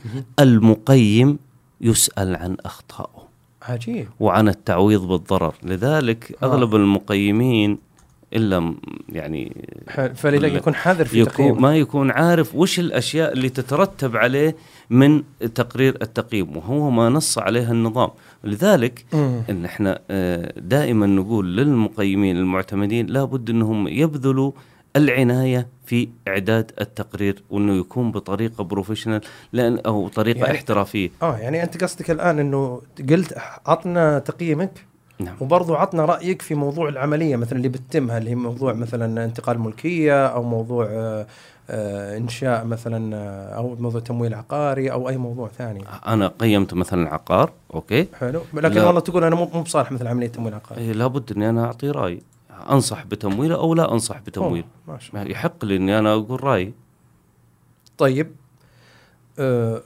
المقيم يسال عن اخطائه عجيب وعن التعويض بالضرر لذلك آه. اغلب المقيمين الا م- يعني ح- فلذلك يكون حذر في يكون تقييم ما يكون عارف وش الاشياء اللي تترتب عليه من تقرير التقييم وهو ما نص عليها النظام لذلك مم. ان احنا آه، دائما نقول للمقيمين المعتمدين لابد انهم يبذلوا العنايه في اعداد التقرير وانه يكون بطريقه بروفيشنال لان او طريقه يعني- يعني احترافيه اه يعني انت قصدك الان انه قلت عطنا تقييمك نعم وبرضو عطنا رايك في موضوع العمليه مثلا اللي بتتمها اللي هي موضوع مثلا انتقال ملكيه او موضوع آه، آه، انشاء مثلا آه، او موضوع تمويل عقاري او اي موضوع ثاني انا قيمت مثلا عقار اوكي حلو لكن لا. والله تقول انا مو مو بصالح مثل عمليه تمويل عقاري إيه، لابد اني انا اعطي راي انصح بتمويله او لا انصح بتمويله أوه، ما شاء الله. يحق لي اني انا اقول رايي طيب آه،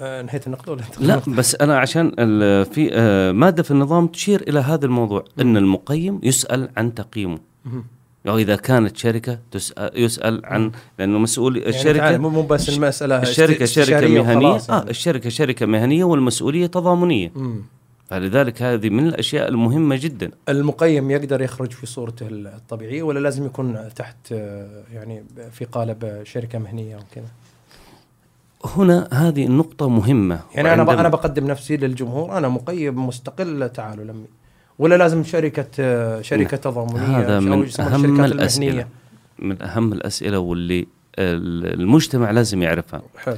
آه، نهيت النقد ولا أنت لا خلصت؟ بس انا عشان ال- في آه، ماده في النظام تشير الى هذا الموضوع ان المقيم يسال عن تقييمه مهم. او اذا كانت شركه تسال يسال عن لانه مسؤول يعني الشركه تعال، مو مو بس المساله الشركه شركه استشارية مهنيه وخلاص اه يعني. الشركه شركه مهنيه والمسؤوليه تضامنيه مم. فلذلك هذه من الاشياء المهمه جدا المقيم يقدر يخرج في صورته الطبيعيه ولا لازم يكون تحت آه، يعني في قالب شركه مهنيه وكذا هنا هذه النقطه مهمه يعني انا ب- وعندما- انا بقدم نفسي للجمهور انا مقيم مستقل تعالوا لمي ولا لازم شركه آه، شركه تضامنيه هذا أو من يسمونها اهم الشركات الاسئله المهنية. من اهم الاسئله واللي ال- المجتمع لازم يعرفها حلو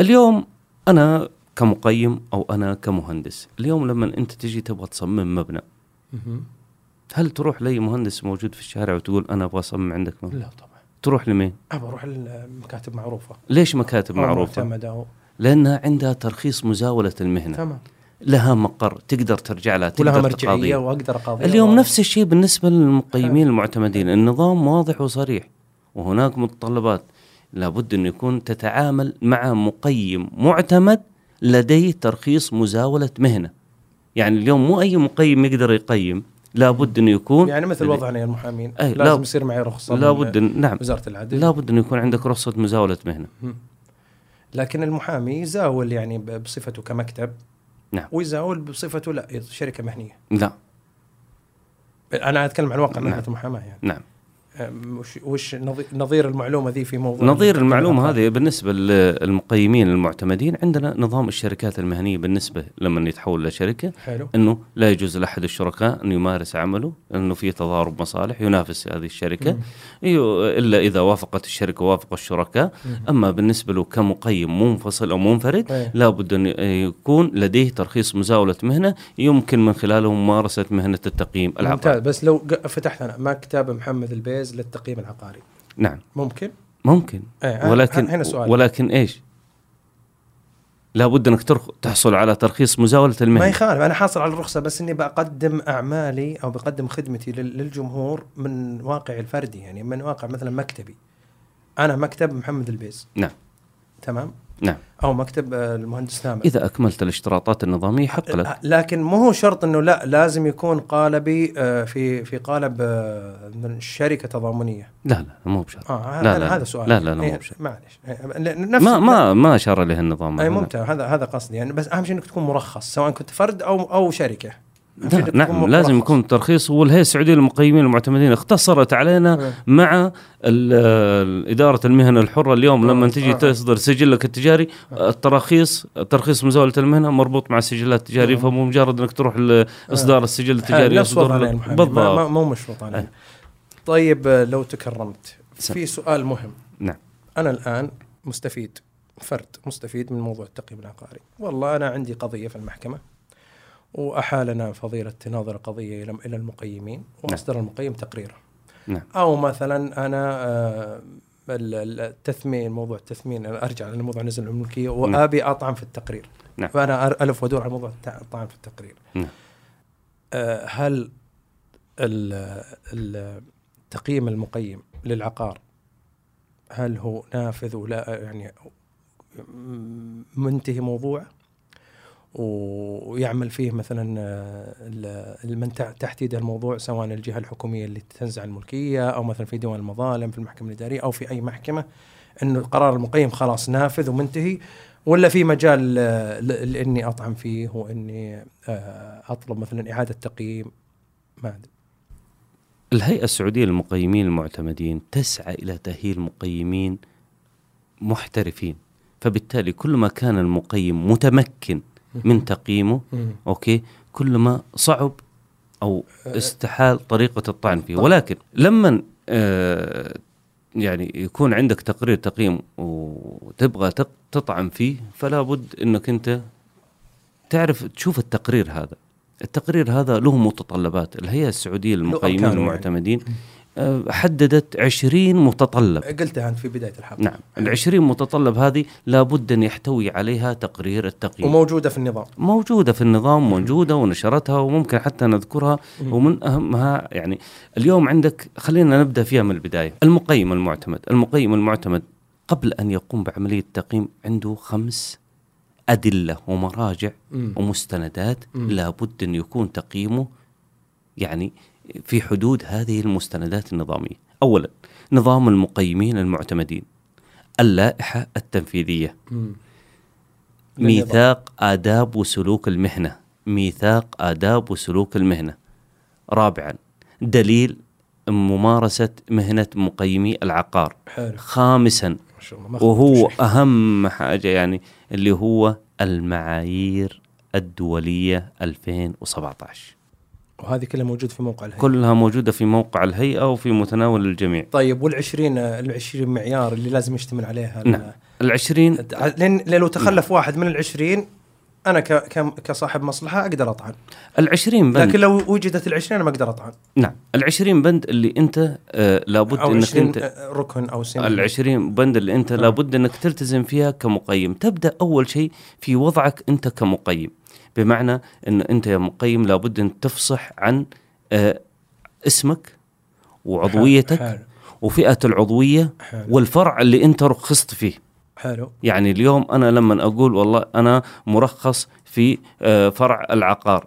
اليوم انا كمقيم او انا كمهندس اليوم لما انت تجي تبغى تصمم مبنى مهم. هل تروح لاي مهندس موجود في الشارع وتقول انا ابغى اصمم عندك مبنى لا طبعا تروح لمين ابى اروح المكاتب معروفه ليش مكاتب أو معروفه معتمده أو- لانها عندها ترخيص مزاوله المهنه تمام لها مقر تقدر ترجع لها ولها نعم. تقدر مرجعيه تقاضيها واقدر اقاضيها اليوم وأ- نفس الشيء بالنسبه للمقيمين المعتمدين النظام واضح وصريح وهناك متطلبات لابد أن يكون تتعامل مع مقيم معتمد لديه ترخيص مزاولة مهنة يعني اليوم مو أي مقيم يقدر يقيم لابد أنه يكون يعني مثل لديه- وضعنا يا المحامين أي، لا- لازم يصير معي رخصه من لابد أن نعم وزاره العدل لابد أن يكون عندك رخصة مزاولة مهنة لكن المحامي يزاول يعني ب- بصفته كمكتب نعم. ويزاول بصفته لا شركه مهنيه لا انا اتكلم عن واقع نعم. مهنه المحاماه يعني نعم أم، وش- وش نظي- نظير المعلومه ذي في موضوع نظير المعلومة هذه بالنسبة للمقيمين المعتمدين عندنا نظام الشركات المهنية بالنسبة لما يتحول لشركة حلو انه لا يجوز لاحد الشركاء ان يمارس عمله لانه في تضارب مصالح ينافس هذه الشركه يو- الا اذا وافقت الشركه وافق الشركاء اما بالنسبه له كمقيم منفصل او إيه. منفرد لابد ان يكون لديه ترخيص مزاوله مهنه يمكن من خلاله ممارسه مهنه التقييم ممتاز العقاري بس لو ق- فتحت انا مكتب محمد البيز للتقييم العقاري نعم ممكن ممكن إيه، ولكن هنا سؤال ولكن ايش لابد انك ترخ- تحصل على ترخيص مزاوله ما المهنه يخالف انا حاصل على الرخصه بس اني بقدم اعمالي او بقدم خدمتي لل- للجمهور من واقعي الفردي يعني من واقع مثلا مكتبي انا مكتب محمد البيز نعم تمام نعم او مكتب آه، المهندس ثامر اذا اكملت الاشتراطات النظاميه حق آه، لك لكن مو هو شرط انه لا لازم يكون قالبي آه، في في قالب آه، من شركه تضامنيه لا لا مو بشرط اه لا، هذا- لا، هذا سؤال لا، لا، لا، إيه، مو بشرط. معلش إيه، نفس ما ما ما اشار اليه النظام نعم. اي هنا. ممتاز هذا هذا قصدي يعني بس اهم شيء انك تكون مرخص سواء كنت فرد او او شركه لا نعم لازم يكون ترخيص والهيئه السعوديه للمقيمين المعتمدين اختصرت علينا مع ال- ال- اداره المهن الحره اليوم لما تجي تصدر سجلك التجاري التراخيص ترخيص مزاوله المهنه مربوط مع السجلات التجاريه فمو مجرد انك تروح لاصدار السجل التجاري نفس يصدر وضعنا لك- يا محمد ما- ما- بالضبط مو مشروط عليه أي. طيب آه، لو تكرمت سم. في سؤال مهم نعم انا الان مستفيد فرد مستفيد من موضوع التقييم العقاري والله انا عندي قضيه في المحكمه واحالنا فضيله ناظر القضيه الى الى المقيمين واصدر المقيم تقريره نعم او مثلا انا آه، ال- ال- التثمين موضوع التثمين أنا ارجع لموضوع نزل الملكيه وابي اطعم في التقرير نعم. فانا أر- الف وادور على موضوع التع- الطعن في التقرير نعم. آه، هل ال- ال- تقييم المقيم للعقار هل هو نافذ ولا يعني م- منتهي موضوعه و- ويعمل فيه مثلا آه، ال- من تع- تحت يد الموضوع سواء الجهه الحكوميه اللي تنزع الملكيه او مثلا في ديوان المظالم في المحكمه الاداريه او في اي محكمه انه القرار المقيم خلاص نافذ ومنتهي ولا في مجال آه، ل- لاني اطعم فيه واني آه، اطلب مثلا اعاده تقييم ما ادري الهيئة السعودية للمقيمين المعتمدين تسعى إلى تأهيل مقيمين محترفين فبالتالي كل ما كان المقيم متمكن من تقييمه أوكي كل ما صعب أو استحال طريقة الطعن فيه ولكن لما آه، يعني يكون عندك تقرير تقييم وتبغى تق- تطعن فيه فلا بد أنك أنت تعرف تشوف التقرير هذا التقرير هذا له متطلبات الهيئة السعودية للمقيمين أركانه يعني. المعتمدين آه، حددت عشرين متطلب قلتها انت في بدايه الحلقه نعم العشرين متطلب هذه لابد أن يحتوي عليها تقرير التقييم وموجوده في النظام موجودة في النظام موجودة ونشرتها وممكن حتى نذكرها ومن أهمها يعني اليوم عندك خلينا نبدأ فيها من البداية المقيم المعتمد المقيم المعتمد قبل أن يقوم بعملية تقييم عنده خمس أدلة ومراجع ومستندات لابد أن يكون تقييمه يعني في حدود هذه المستندات النظامية أولا نظام المقيمين المعتمدين اللائحة التنفيذية للنظام. ميثاق آداب وسلوك المهنة ميثاق آداب وسلوك المهنة رابعا دليل ممارسة مهنة مقيمي العقار حلو خامسا ما شاء الله ما وهو خفت شيء. أهم حاجة يعني اللي هو المعايير الدولية 2017 وهذه كلها موجود في موقع الهيئه كلها موجودة في موقع الهيئة وفي متناول الجميع طيب وال20 ال20 معيار اللي لازم يشتمل عليها ال- نعم العشرين لان لأن لو تخلف واحد من ال20 انا ك- ك- كصاحب مصلحه اقدر اطعن العشرين بند لكن لو وجدت ال20 انا ما اقدر اطعن نعم العشرين بند اللي انت آه لابد او انك 20 انت آه، ركن او سن العشرين بند اللي انت لابد انك تلتزم فيها كمقيم تبدا اول شيء في وضعك انت كمقيم بمعنى ان انت يا مقيم لابد ان تفصح عن آه، اسمك وعضويتك حلو وفئه العضويه حلو. والفرع اللي انت رخصت فيه حلو يعني اليوم انا لما اقول والله انا مرخص في آه، فرع العقار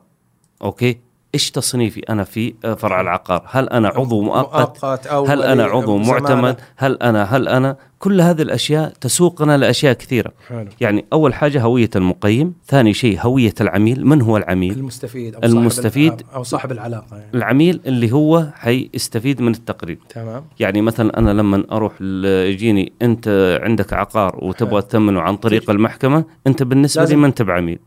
اوكي ايش تصنيفي انا في آه، فرع العقار هل انا عضو مؤقت مؤقت أو هل انا ولي- عضو زمالة. معتمد هل انا هل انا كل هذه الاشياء تسوقنا لاشياء كثيره حلو يعني اول حاجه هويه المقيم ثاني شيء هويه العميل من هو العميل المستفيد او المستفيد. صاحب الع- او صاحب العلاقه يعني العميل اللي هو حيستفيد من التقرير تمام يعني مثلا انا لما اروح ل- يجيني انت عندك عقار وتبغى تثمنه عن طريق المحكمه انت بالنسبه لي لازم- ما انت بعميل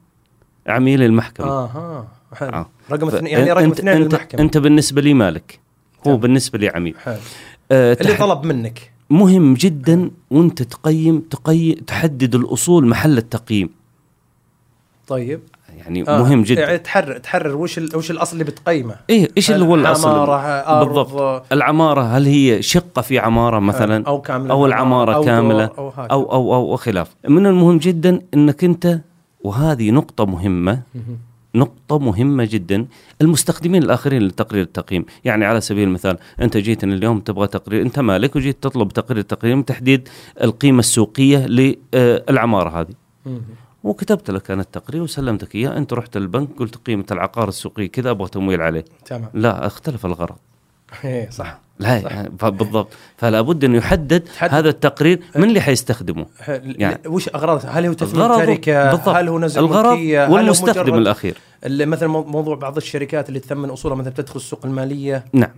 عميل المحكمه اها حلو طيب. آه. رقم ف- اثنين يعني رقم أنت- اثنين انت للمحكمه انت بالنسبه لي مالك هو تمام. بالنسبه لي عميل حلو آه، اللي تح- طلب منك مهم جدا وانت تقيم تقي تحدد الاصول محل التقييم طيب يعني آه، آه. مهم جدا يعني تحرر تحرر وش ال- وش الاصل اللي بتقيمه ايه ايش اللي هو الاصل عمارة، أرض. بالضبط العماره هل هي شقه في عماره مثلا او كامله او العماره آه، أو كامله دور، او هكذا. او او او وخلاف من المهم جدا انك انت وهذه نقطه مهمه نقطة مهمة جدا المستخدمين الآخرين لتقرير التقييم يعني على سبيل المثال أنت جيتني اليوم تبغى تقرير أنت مالك وجيت تطلب تقرير تقييم تحديد القيمة السوقية للعمارة هذه مهم. وكتبت لك أنا التقرير وسلمتك إياه أنت رحت البنك قلت قيمة العقار السوقي كذا أبغى تمويل عليه تمام لا اختلف الغرض إيه، صح لا يعني ف- بالضبط فلا بد انه يحدد تحدد. هذا التقرير من اللي حيستخدمه حل- يعني- وش اغراضه هل هو تثمين الغرض تركه بالضبط. هل هو نزع الغرض ملكيه هل هو والمستخدم مجرد- الاخير اللي مثلا مو- موضوع بعض الشركات اللي تثمن اصولها مثلا تدخل السوق الماليه نعم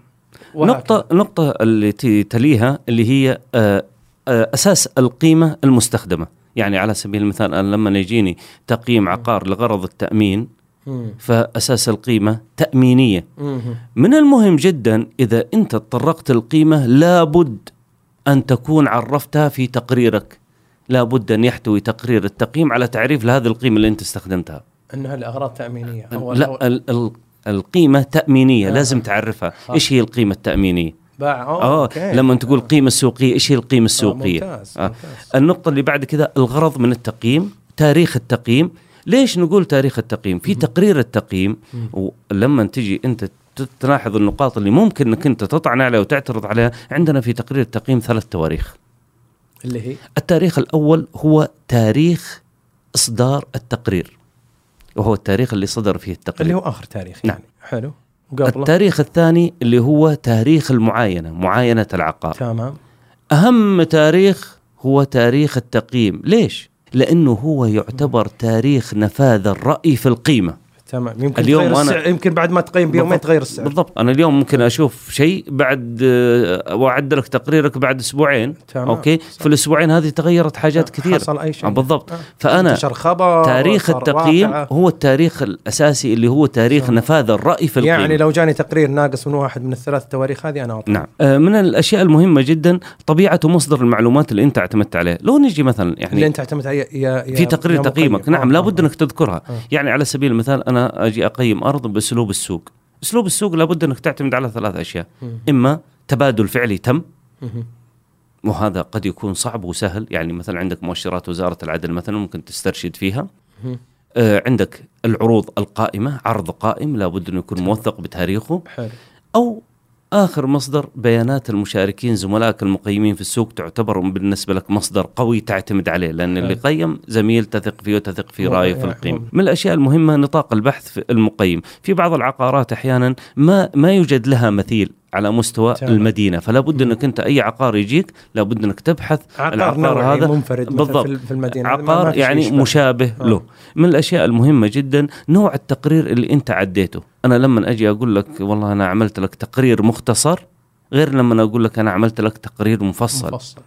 وهكذا. نقطة نقطة التي تليها اللي هي آه، آه، أساس القيمة المستخدمة يعني على سبيل المثال أنا لما يجيني تقييم عقار لغرض التأمين مم. فأساس القيمة تأمينية مم. من المهم جدا إذا أنت تطرقت القيمة لابد أن تكون عرفتها في تقريرك لابد أن يحتوي تقرير التقييم على تعريف لهذه القيمة اللي أنت استخدمتها انها لاغراض تامينيه أو لا أو ال- ال- القيمة تأمينية آه. لازم تعرفها آه. ايش هي القيمة التأمينية باع آه، اه أوكي. لما تقول قيمة سوقية ايش هي القيمة آه، السوقية ممتاز آه. ممتاز. النقطة اللي بعد كذا الغرض من التقييم تاريخ التقييم ليش نقول تاريخ التقييم في تقرير التقييم ولما تجي انت ت- تلاحظ النقاط اللي ممكن انك انت تطعن عليها وتعترض عليها عندنا في تقرير التقييم ثلاث تواريخ اللي هي التاريخ الاول هو تاريخ اصدار التقرير وهو التاريخ اللي صدر فيه التقرير اللي هو اخر تاريخ نعم. يعني حلو وقبله التاريخ الثاني اللي هو تاريخ المعاينة معاينة العقار تمام أهم تاريخ هو تاريخ التقييم ليش؟ لأنه هو يعتبر تاريخ نفاذ الرأي في القيمة تمام يمكن اليوم تغير أنا- السعر يمكن بعد ما تقيم بيومين بالضبط- تغير السعر بالضبط أنا اليوم ممكن أشوف شيء بعد آه، وأعدلك تقريرك بعد أسبوعين تمام. أوكي في الأسبوعين هذه تغيرت حاجات كثيرة حصل اي شيء آه، بالضبط آه. فأنا انتشر خبر تاريخ صار التقييم واقعة. هو التاريخ الأساسي اللي هو تاريخ تمام. نفاذ الرأي في القيمة يعني لو جاني تقرير ناقص من واحد من الثلاث تواريخ هذه انا نعم آه، من الاشياء المهمه جدا طبيعه ومصدر المعلومات اللي انت اعتمدت عليه لو نجي مثلا اللي يعني انت اعتمدت عليه يا, يا في تقرير يا تقييمك مقيم. نعم آه، لابد آه. انك تذكرها آه. يعني على سبيل المثال انا اجي اقيم ارض باسلوب السوق اسلوب السوق لابد انك تعتمد على ثلاث اشياء مم. اما تبادل فعلي تم مهم. وهذا قد يكون صعب وسهل يعني مثلا عندك مؤشرات وزاره العدل مثلا ممكن تسترشد فيها مهم. آه عندك العروض القائمه عرض قائم لابد انه يكون موثق بتاريخه حلو أو آخر مصدر بيانات المشاركين زملائك المقيمين في السوق تعتبر بالنسبة لك مصدر قوي تعتمد عليه لأن اللي حلو. قيم زميل تثق فيه وتثق في مو- رأيه في يعني القيمة مو- من الأشياء المهمة نطاق البحث في المقيم في بعض العقارات أحيانا ما, ما يوجد لها مثيل على مستوى تمام. المدينة فلا بد أنك أنت أي عقار يجيك لابد أنك تبحث عقار العقار نوعي هذا منفرد مثلاً بالضبط. في- في المدينه ما- ما عقار في شيء يعني يشبه. مشابه آه. له من الاشياء المهمه جدا نوع التقرير اللي انت عديته انا لما اجي اقول لك والله انا عملت لك تقرير مختصر غير لما أنا اقول لك انا عملت لك تقرير مفصل, مفصل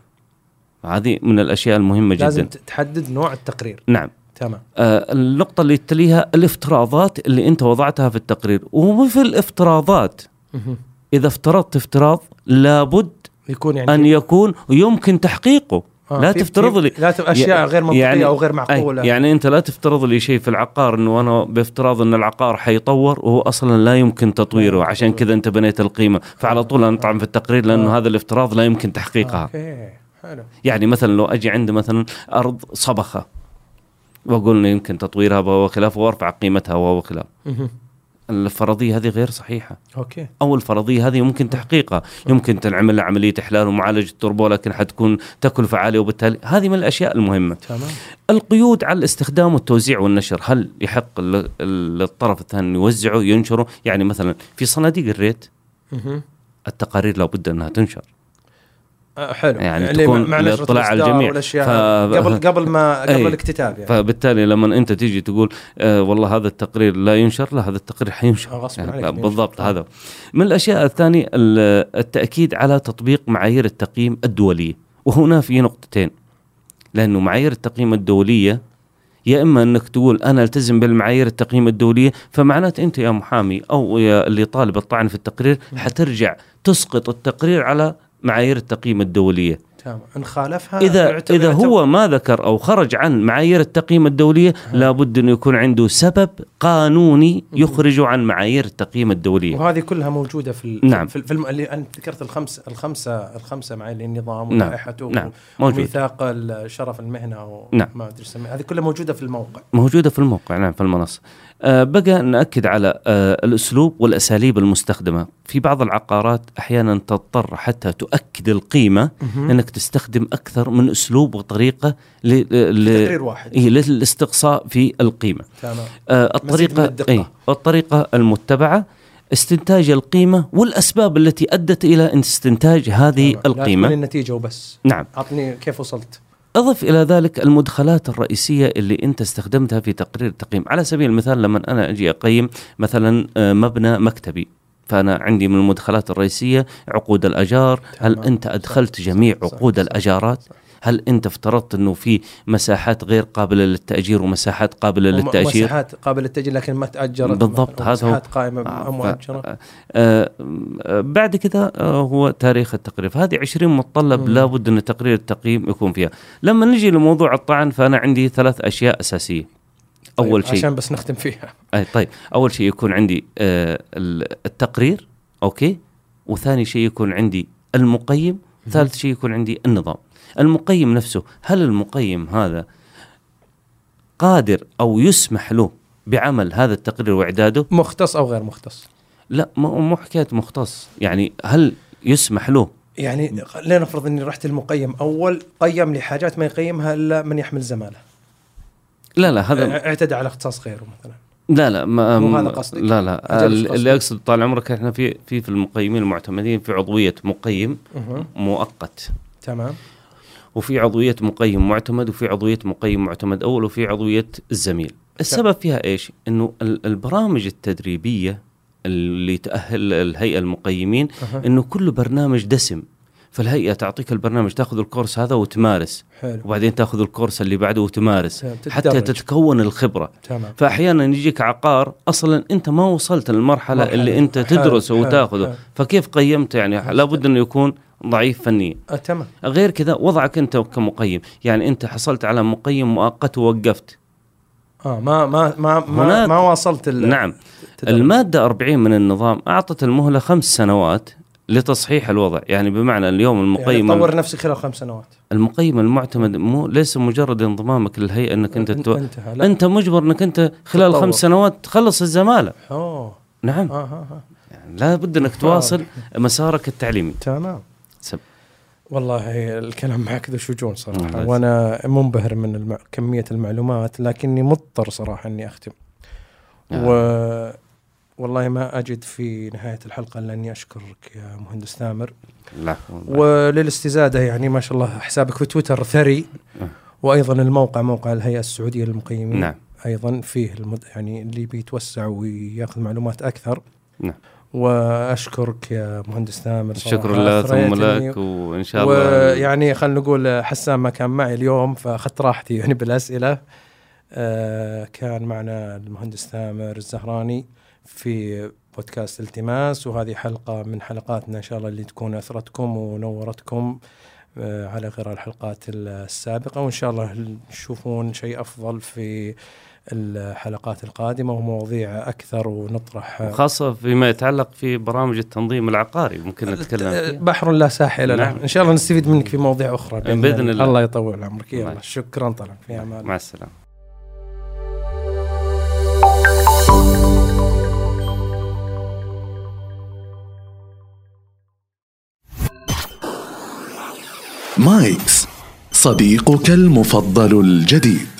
هذه من الاشياء المهمه لازم جدا ت- تحدد نوع التقرير نعم تمام آه النقطه اللي تليها الافتراضات اللي انت وضعتها في التقرير وفي الافتراضات مهم. اذا افترضت افتراض لابد يكون يعني ان في- يكون يمكن تحقيقه آه، لا في- تفترض في- لي لا ت- اشياء غير منطقيه يعني- او غير أي معقوله يعني انت لا تفترض لي شيء في العقار انه انا بافتراض ان العقار حيطور وهو اصلا لا يمكن تطويره عشان كذا انت بنيت القيمه فعلى طول انا اطعم في التقرير آه. لانه هذا الافتراض لا يمكن تحقيقها اوكي آه، حلو يعني مثلا لو اجي عندي مثلا ارض صبخه واقول انه يمكن تطويرها وخلافه وارفع قيمتها وخلافه مهم. الفرضيه هذه غير صحيحه اوكي او الفرضيه هذه يمكن تحقيقها يمكن تنعمل لها عمليه احلال ومعالجه تربه لكن حتكون تكلفه عاليه وبالتالي هذه من الاشياء المهمه تمام القيود على الاستخدام والتوزيع والنشر هل يحق ل- للطرف الثاني يوزعه ينشره يعني مثلا في صناديق الريت مهم. التقارير لابد انها تنشر آه، حلو يعني اللي تكون مع نشرة للاطلاع على الإصدار الجميع. والأشياء ف- إيه. هذه. قبل قبل ما قبل أي. الاكتتاب يعني فبالتالي لما انت تيجي تقول آه والله هذا التقرير لا ينشر لا هذا التقرير حينشر آه، غصباً يعني عليك لا، بينشر. بالضبط هذا من الاشياء الثانيه ال- التاكيد على تطبيق معايير التقييم الدوليه وهنا في نقطتين لانه معايير التقييم الدوليه يا اما انك تقول انا التزم بالمعايير التقييم الدوليه فمعناته انت يا محامي او يا اللي طالب الطعن في التقرير حترجع تسقط التقرير على معايير التقييم الدوليه تمام ان خالفها اذا يعتبر- اذا يعتبر- هو ما ذكر او خرج عن معايير التقييم الدوليه آه. لابد انه يكون عنده سبب قانوني يخرجه عن معايير التقييم الدوليه وهذه كلها موجوده في ال- نعم. في, ال- في الم... اللي انت ذكرت الخمسه الخمسه الخمسه مع النظام نعم، ولائحته نعم، موجود. وميثاق ال- شرف المهنه نعم. وما ادري اسميها هذه كلها موجوده في الموقع موجوده في الموقع نعم في المنصه آه، بقى ناكد على آه، الاسلوب والاساليب المستخدمه في بعض العقارات احيانا تضطر حتى تؤكد القيمه انك تستخدم اكثر من اسلوب وطريقه ل... ل... تقرير واحد إيه، للاستقصاء في القيمه تمام آه، مزيد من الطريقه الدقة. أي الطريقه المتبعه استنتاج القيمه والاسباب التي ادت الى استنتاج هذه تمام. نعم، لا تقول القيمه النتيجه وبس نعم اعطني كيف وصلت اضف الى ذلك المدخلات الرئيسيه اللي انت استخدمتها في تقرير التقييم على سبيل المثال لما انا اجي اقيم مثلا آه، مبنى مكتبي فانا عندي من المدخلات الرئيسيه عقود الاجار هل تمام. انت صح، ادخلت صح، جميع صح، عقود صح، الاجارات صح. هل انت افترضت انه في مساحات غير قابله للتاجير ومساحات قابله وم- للتاجير مساحات قابل للتأجير لكن ما تأجرت بالضبط، مثلاً، هذا هو. مساحات قائمة آه، آه ف- مؤجرة آه، آه، بعد كذا آه، هو تاريخ التقرير فهذه 20 متطلب مم. لابد ان تقرير التقييم يكون فيها لما نجي لموضوع الطعن فانا عندي ثلاث اشياء اساسيه اول طيب، شيء عشان بس نختم فيها أي طيب اول شيء يكون عندي آه، ال- التقرير اوكي وثاني شيء يكون عندي المقيم ثالث شيء يكون عندي النظام المقيم نفسه هل المقيم هذا قادر او يسمح له بعمل هذا التقرير واعداده مختص أو غير مختص لا مو مو حكايه مختص يعني هل يسمح له يعني لنفرض اني رحت المقيم اول قيم لي حاجات ما يقيمها الا من يحمل زماله لا لا هذا آه، اعتدى على اختصاص غيره مثلا لا لا ما مو هذا قصدك. لا لا أجل مش ال- قصدك. اللي اقصد طال عمرك احنا في في في المقيمين المعتمدين في عضويه مقيم مه. مؤقت تمام وفي عضوية مقيم معتمد وفي عضوية مقيم معتمد أول وفي عضوية الزميل السبب فيها إيش؟ أنه ال- البرامج التدريبية اللي تأهل الهيئة المقيمين أها. أنه كل برنامج دسم فالهيئة تعطيك البرنامج تأخذ الكورس هذا وتمارس حلو وبعدين تأخذ الكورس اللي بعده وتمارس تتدرج. حتى تتكون الخبرة تمام فأحيانا يجيك عقار أصلا أنت ما وصلت للمرحلة مرحلة. اللي أنت حلو، تدرسه حلو، وتأخذه حلو. فكيف قيمت نعم. يعني لابد أنه يكون ضعيف فنيا آه، تمام غير كذا وضعك انت كمقيم يعني انت حصلت على مقيم مؤقت ووقفت اه ما ما ما ما, هناك- ما واصلت ال- نعم التدرج. المادة 40 من النظام أعطت المهلة خمس سنوات لتصحيح الوضع يعني بمعنى اليوم يعني المقيم طور نفسي خلال خمس سنوات المقيم المعتمد مو ليس مجرد انضمامك للهيئة أنك أنت انت تو... انتهى لا أنت مجبر أنك أنت خلال تتطور. خمس سنوات تخلص الزمالة اوه نعم اه ها ها يعني لا بد أنك تواصل مسارك التعليمي تمام سب. والله الكلام معك ذو شجون صراحه الله وانا منبهر من الم... كميه المعلومات لكني مضطر صراحه اني اختم آه. و والله ما اجد في نهايه الحلقه الا اني اشكرك يا مهندس ثامر لا وللاستزاده يعني ما شاء الله حسابك في تويتر ثري آه. وايضا الموقع موقع الهيئه السعوديه للمقيمين نعم ايضا فيه المد... يعني اللي بيتوسع وياخذ معلومات اكثر نعم. واشكرك يا مهندس ثامر صراحة. شكر الله ثم أثريتني. لك وإن شاء الله ويعني خلينا نقول حسام ما كان معي اليوم فاخذت راحتي يعني بالاسئله آه كان معنا المهندس ثامر الزهراني في بودكاست التماس وهذه حلقه من حلقاتنا ان شاء الله اللي تكون اثرتكم ونورتكم آه على غير الحلقات السابقه وان شاء الله تشوفون شيء افضل في الحلقات القادمه ومواضيع اكثر ونطرح خاصة فيما يتعلق في برامج التنظيم العقاري ممكن نتكلم فيها. أه، بحر لا ساحل له نعم. ان شاء الله نستفيد منك في مواضيع اخرى بإذن الله. الله يطول عمرك يلا الله. شكرا طبعا في امان مع السلامة مايكس صديقك المفضل الجديد